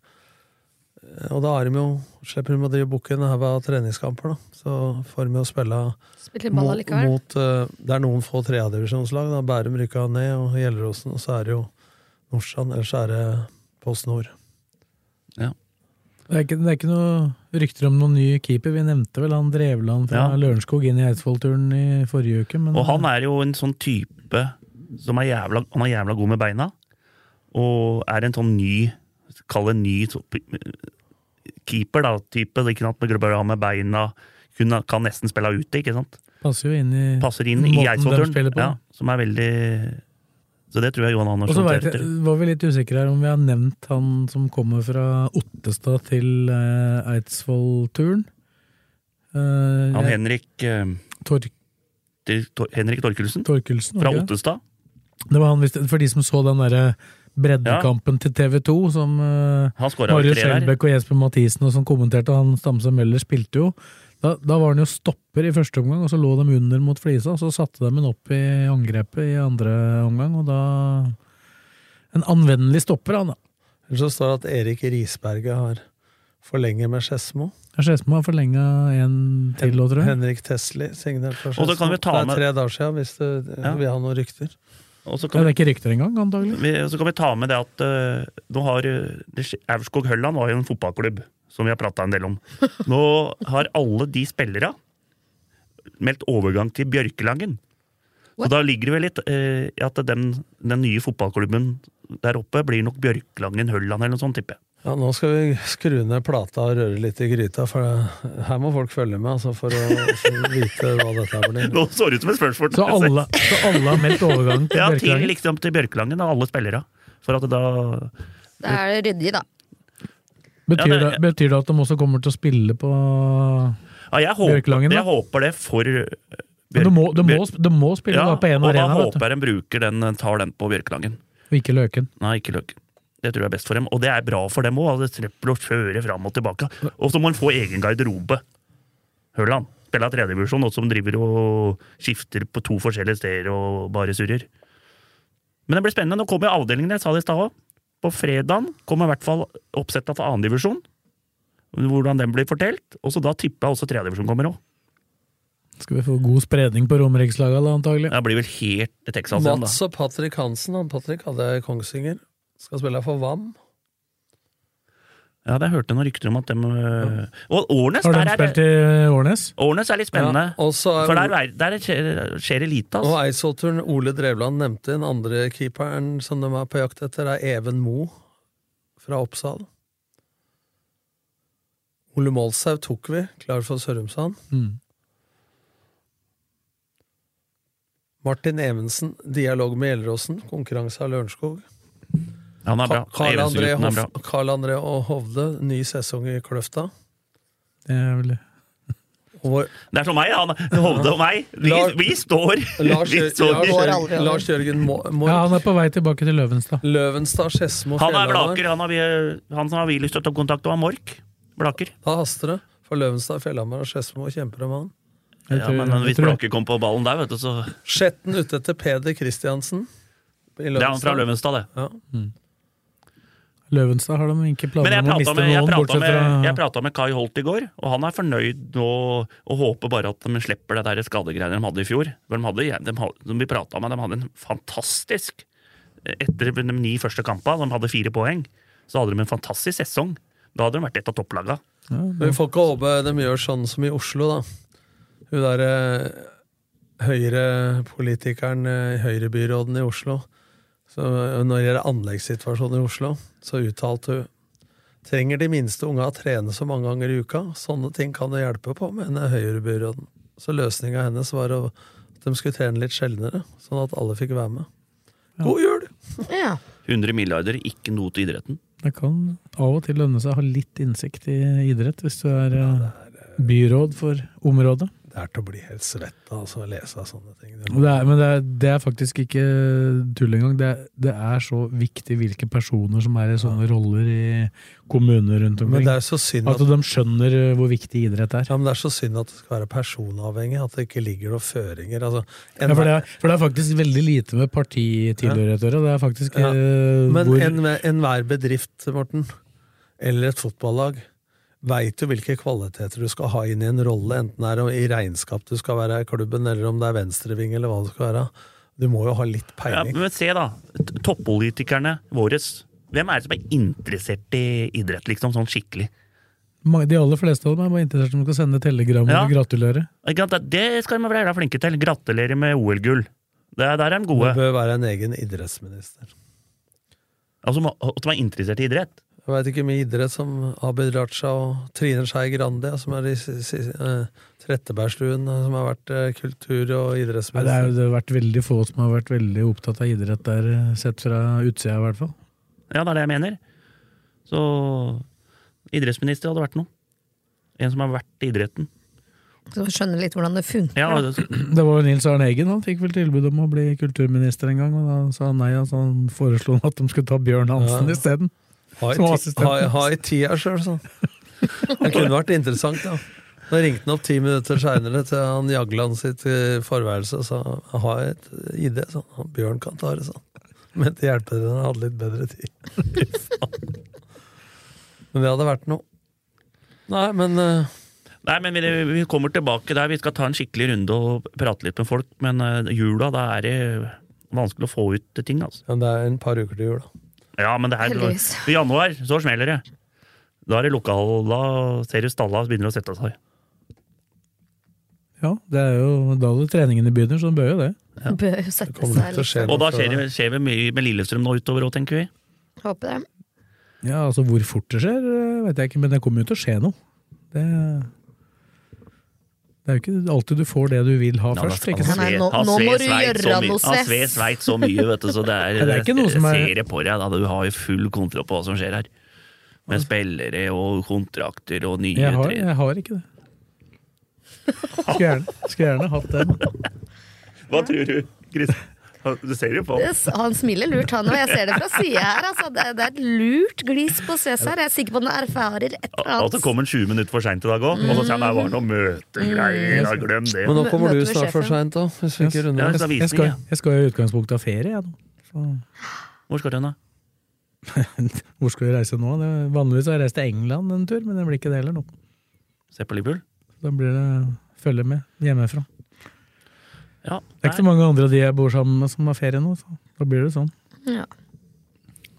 Eh, Og da er de jo, slipper de å drive booke en haug av treningskamper, da. Så får de jo spille Spiller ball mot, allikevel. mot eh, Det er noen få tredjedivisjonslag. da. Bærum rykka ned, og Gjelleråsen, og så er det jo Norsan, ellers er det Post Nord. Det er, ikke, det er ikke noe rykter om noen ny keeper. Vi nevnte vel han Drevland fra Ja. Lørenskog inn i Eidsvollturen i forrige uke. Men Og han er jo en sånn type som er jævla, han er jævla god med beina, og er en sånn ny Kall det en ny så- keeper, da, type. Ikke sant? Med grubber av med beina. Kunne, kan nesten spille av ute, ikke sant? passer jo inn i Passer inn i måten de spiller Eidsvollturen. på. Ja, som er veldig Så det tror jeg Johan Og så Andersson vet ser jeg- etter. var vi litt usikre her om vi har nevnt han som kommer fra Ottestad til eh, Eidsvollturen. Eh, Han jeg- Henrik, eh, Tor Tor- Tor- Henrik Torkelsen Torkelsen. var fra det ikke det? Ottestad. Det var han, hvis det- for de som så den derre breddekampen til TV 2, som eh, Han skåra Marius tre der. Skjelbæk og Jesper Mathisen og som kommenterte, og han Stamse Møller spilte jo. Da, da var han jo stopper i første omgang, og så lå de under mot flisa, og så satte de han opp i angrepet i andre omgang, og da En anvendelig stopper, han da. Eller så står det at Erik Risberget har forlenger med Skedsmo. Jeg ser ut som han har forlenga en til, nå, tror jeg. Henrik Tesli signert for Og så kan vi Skedsmo. Det ta er med- tre dager siden, hvis du Ja. vil ha noen rykter. Og så Ja, kan det vi, er ikke rykter engang, antagelig. vi- så kan vi ta med det at eh, nå har eh, det skje- Aurskog Hølland var jo en fotballklubb som vi har prata en del om. Nå har alle de spillere meldt overgang til Bjørkelangen. Så What? da ligger det vel litt eh, i at den, den nye fotballklubben der oppe blir nok Bjørkelangen Hølland eller noe sånt, tipper jeg. Ja, nå skal vi skru ned plata og røre litt i gryta, for det- her må folk følge med altså, for å for å vite hva dette her blir. Nå så det ut som et spørsmål. Så alle, så alle har meldt overgang til Ja, til, Bjørkelangen. liksom, til Bjørkelangen og alle spillere. For at da Da er det ryddig, da. Betyr, Ja, det- det, betyr det at de også kommer til å spille på Ja, jeg håper, Bjørkelangen, da? jeg håper det for eh, Men Bjørk- du må, du må, Bjørk- sp- du må spille ja, da på én og arena, da vet du. håper jeg de bruker den, eh, tar den på Bjørkelangen. og ikke Løken. Nei, ikke løk. Det tror jeg er best for dem, og det er bra for dem òg. Det slipper å kjøre fram og tilbake. Og så må en få egen garderobe. Hørland. spiller tredjevisjon, og som driver og skifter på to forskjellige steder og bare surrer. Men det blir spennende. Nå kommer avdelingen, jeg sa det i stad òg. På fredagen kommer i hvert fall oppsettet for annendivisjon. Hvordan den blir fortalt. Og så da tipper jeg også tredjedivisjon kommer òg. Skal vi få god spredning på romerikslaga, da, antagelig? Det blir vel helt Texas igjen, da. Mats og Patrick Hansen. Han Patrick hadde jeg i Kongsvinger. Skal spille for VAM. Ja, det hørte jeg noen rykter om at dem øh, Og Årnes, Har der de er spilt i eh, Årnes? Årnes er litt spennende. Ja, og så er- For der, er- der skjer, skjer elite, Og altså. Eidsvollturen Ole Drevland nevnte den andre keeperen som de er på jakt etter, er Even Mo fra Oppsal. Ole Målshaug tok vi, klar for Sørumsand. Mm. Martin Evensen, dialog med Gjelleråsen, konkurranse av Lørenskog. Han er bra. Karl André, Evensen-gutten er bra. Hof- Karl André og Hovde, ny sesong i Kløfta. Det er vel Og vår, Det er som meg, han Hovde og meg. Vi, Lars- vi står! Lars, vi står. Lars, Jørgen, Lars Jørgen Mo- Ja, Mork, han er på vei tilbake til Løvenstad. Løvenstad, Skedsmo, Han er Fjellhamar. Blaker. Han, har vi, øh, han som har vi lyst til å ta kontakt med, er Mork. Blaker. Da haster det. For Løvenstad, Fjellhamar og Skedsmo kjemper om han. Jeg Ja, tror- men øh, jeg hvis tror- Blaker kom på ballen der, vet du, så Skjetten ute etter Peder Kristiansen. i Det er han fra Løvenstad. Løvenstad, det. Ja. Løvenstad har de ikke Men planer jeg om å prata miste med, jeg noen, pratet bortsett med, jeg fra pratet med Kai Holt i går, og han er fornøyd nå og håper bare at de slipper det der skadegreiene de hadde i fjor. For de hadde, de hadde, som vi pratet med, de hadde en fantastisk Etter de ni første kampene, de hadde fire poeng, så hadde de en fantastisk sesong. Da hadde de vært et av topplagene. Men vi får ikke håpe de gjør sånn som i Oslo, da. Hun derre Høyre-politikeren eh, i Høyre-byråden i Oslo. Så eh, når det gjelder anleggssituasjonen i Oslo, så uttalte hun Trenger de minste unga å trene så mange ganger i uka? Sånne ting kan det hjelpe på, mener Høyre-byråden. Så løsninga hennes var å, at de skulle trene litt sjeldnere, sånn at alle fikk være med. God jul! Ja. 100 milliarder, ikke noe til idretten. Det kan av og til lønne seg å ha litt innsikt i idrett, hvis du er eh, byråd for området. Det er til å bli helt svett av altså, å lese av sånne ting. Og Det er, men det er, det er faktisk ikke tull engang. Det, er- det er så viktig hvilke personer som er i sånne roller i kommuner rundt Men omkring. det er så synd At at, de skjønner eh, hvor viktig idrett er. ja, men det, er så synd at det skal være personavhengig, at det ikke ligger noen føringer. Altså, en, Ja, for, det er, for det er faktisk veldig lite med partitilhørighet å gjøre. Det er faktisk Ja. eh, men hvor enhver en enhver bedrift, Morten, eller et fotballag, veit jo hvilke kvaliteter du skal ha inn i en rolle, enten det er i regnskap du skal være i klubben, eller om det er venstreving, eller hva det skal være. Du må jo ha litt Ja, peiling. men se, da. t- Toppolitikerne våre. Hvem er det som er interessert i idrett, liksom, sånn skikkelig? mange- De aller fleste av dem er bare interessert i om de skal sende telegram Ja. og gratulere. Ikke sant? Det skal de være jævla flinke til. Gratulerer med OL-gull. Det er- Der er de gode. Det bør være en egen idrettsminister. Altså, ma- at man er interessert i idrett. Jeg veit ikke mye idrett som Abid Raja og Trine Skei Grande, som er i si- si- eh, Trettebergstuen, eh, som har vært eh, kultur- og Nei, det, er, idrettsminister. jo- det har vært veldig få som har vært veldig opptatt av idrett der, eh, sett fra utsida i hvert fall. Ja, det er det jeg mener. Så idrettsminister hadde vært noe. En som har vært i idretten. Så skjønner litt hvordan det funker. Ja, altså, da. det- Det var jo Nils Arne Eggen, han fikk vel tilbud om å bli kulturminister en gang, og da sa han nei, altså han foreslo at de skulle ta Bjørn Hansen Ja. isteden. Ha i som ti- assistent. ha i- Ha i tida sjøl, sånn. Det kunne vært interessant, da. Da ringte han opp ti minutter seinere til han Jagland sitt eh, forværelse og sa ha et ID, sånn. Han Bjørn kan ta det, sånn. Men det hjelper den hadde litt bedre tid. Fy faen. Men det hadde vært noe. Nei, men eh, Nei, men vi, vi kommer tilbake der. Vi skal ta en skikkelig runde og prate litt med folk. Men eh, jula, da er det vanskelig å få ut ting, altså. ja, det er en par uker til jul, da. Ja, men det her, Heldigvis. I januar så smeller det. Da er det lokal, da ser du stalla begynner å sette seg. Ja, det er jo da det treningene begynner, så de bør jo det. Bør jo sette kommer seg ikke til å skje litt. sånn. noe Og da før skjer det. det, skjer det mye med Lillestrøm nå utover òg, tenker vi. Håper det. Ja, altså hvor fort det skjer, eh, vet jeg ikke, men det kommer jo til å skje noe. Det, det er jo ikke alltid du får det du vil ha Ja, først. han- ikke han sant? Nei, sve- nå- han nå sve må Sveits du så gjøre mye- noe, Han Sveits. sved sveit så mye, vet du, så det er, Ja, det er ikke noe som er- Jeg ser det på deg, da. Du har jo full kontroll på hva som skjer her. Med spillere og kontrakter og nye Jeg har, tre- jeg har ikke det. Skulle gjerne, skulle gjerne hatt det. Hva tror du, Chris? Du ser det på Det s- Han smiler lurt, han òg. Jeg ser det fra sida her. Altså. Det, det er et lurt glis på Cæsar. Jeg er sikker på at han erfarer et eller Og så annet. kom han 20 minutter for seint i dag òg. Og så sier han det var noe møtegreier. Mm. Ja, Glem det. Men nå kommer du Møter med snart for seint, sjefen. da. Hvis vi ikke runder Ja, av. det er visning, Jeg skal, ja. jeg skal i utgangspunktet ha ferie, jeg nå. Så, Hvor skal du hen, da? hvor skal vi reise nå? Det, vanligvis har jeg reist til England en tur, men det blir ikke det heller nå. Se på Liverpool? Da blir det følge med hjemmefra. Ja. Det er ikke så mange andre av de jeg bor sammen med som har ferie nå, så da blir det sånn. Ja.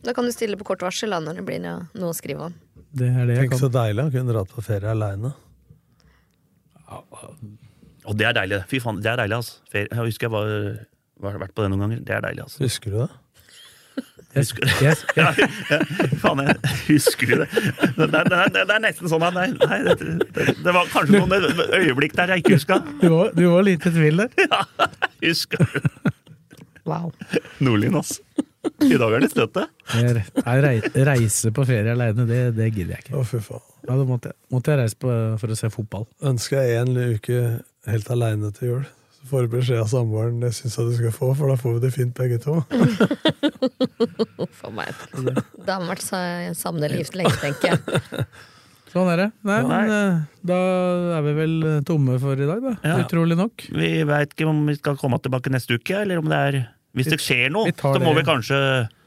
Da kan du stille på kort varsel da, når det blir noe noe å skrive om. Det er det jeg kan. Tenk så deilig å kunne dra på ferie aleine. Og det er deilig. Fy faen, det er deilig, altså. Ferie. Jeg husker jeg var, var, vært på det noen ganger. Det er deilig, altså. Husker du det? Husker, Jeg, jeg, faen, jeg husker jo det. Det, er- det, er- det er nesten sånn at nei, nei, det, det, det var kanskje noen øyeblikk der jeg ikke huska. du, var, du var litt i tvil der. Husker Wow. Nordlien, altså. I dag er det støtte. Jeg, jeg rei- reise på ferie aleine, det, det gidder jeg ikke. Å, fy faen. Ja, da måtte jeg, måtte jeg reise på, for å se fotball. Ønsker jeg en uke helt aleine til jul. Så får du beskjed av samboeren det syns jeg du skal få, for da får vi det fint begge to. Uff a meg. Da har man vært sa- sammen eller gift lenge, tenker jeg. Sånn er det. Nei, Ja. men eh, da er vi vel eh, tomme for i dag, da. Ja. Utrolig nok. Vi veit ikke om vi skal komme tilbake neste uke, eller om det er Hvis det skjer noe, Vi tar så må vi det. kanskje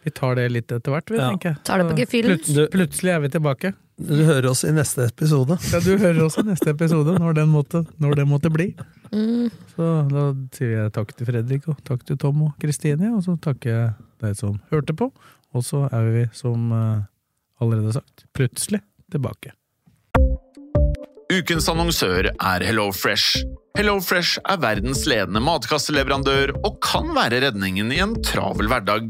Vi tar det litt etter hvert, vi, Ja. tenker jeg. Tar det på gefühlen. Plut- Plutselig er vi tilbake. Du hører oss i neste episode. Ja, du hører også neste episode, når den måtte, når den måtte bli. Mm. Så da sier jeg takk til Fredrik, og takk til Tom og Kristine, og så takker jeg deg som hørte på. Og så er vi, som eh, allerede sagt, plutselig tilbake. Ukens annonsør er HelloFresh. HelloFresh er verdens ledende matkasseleverandør og kan være redningen i en travel hverdag.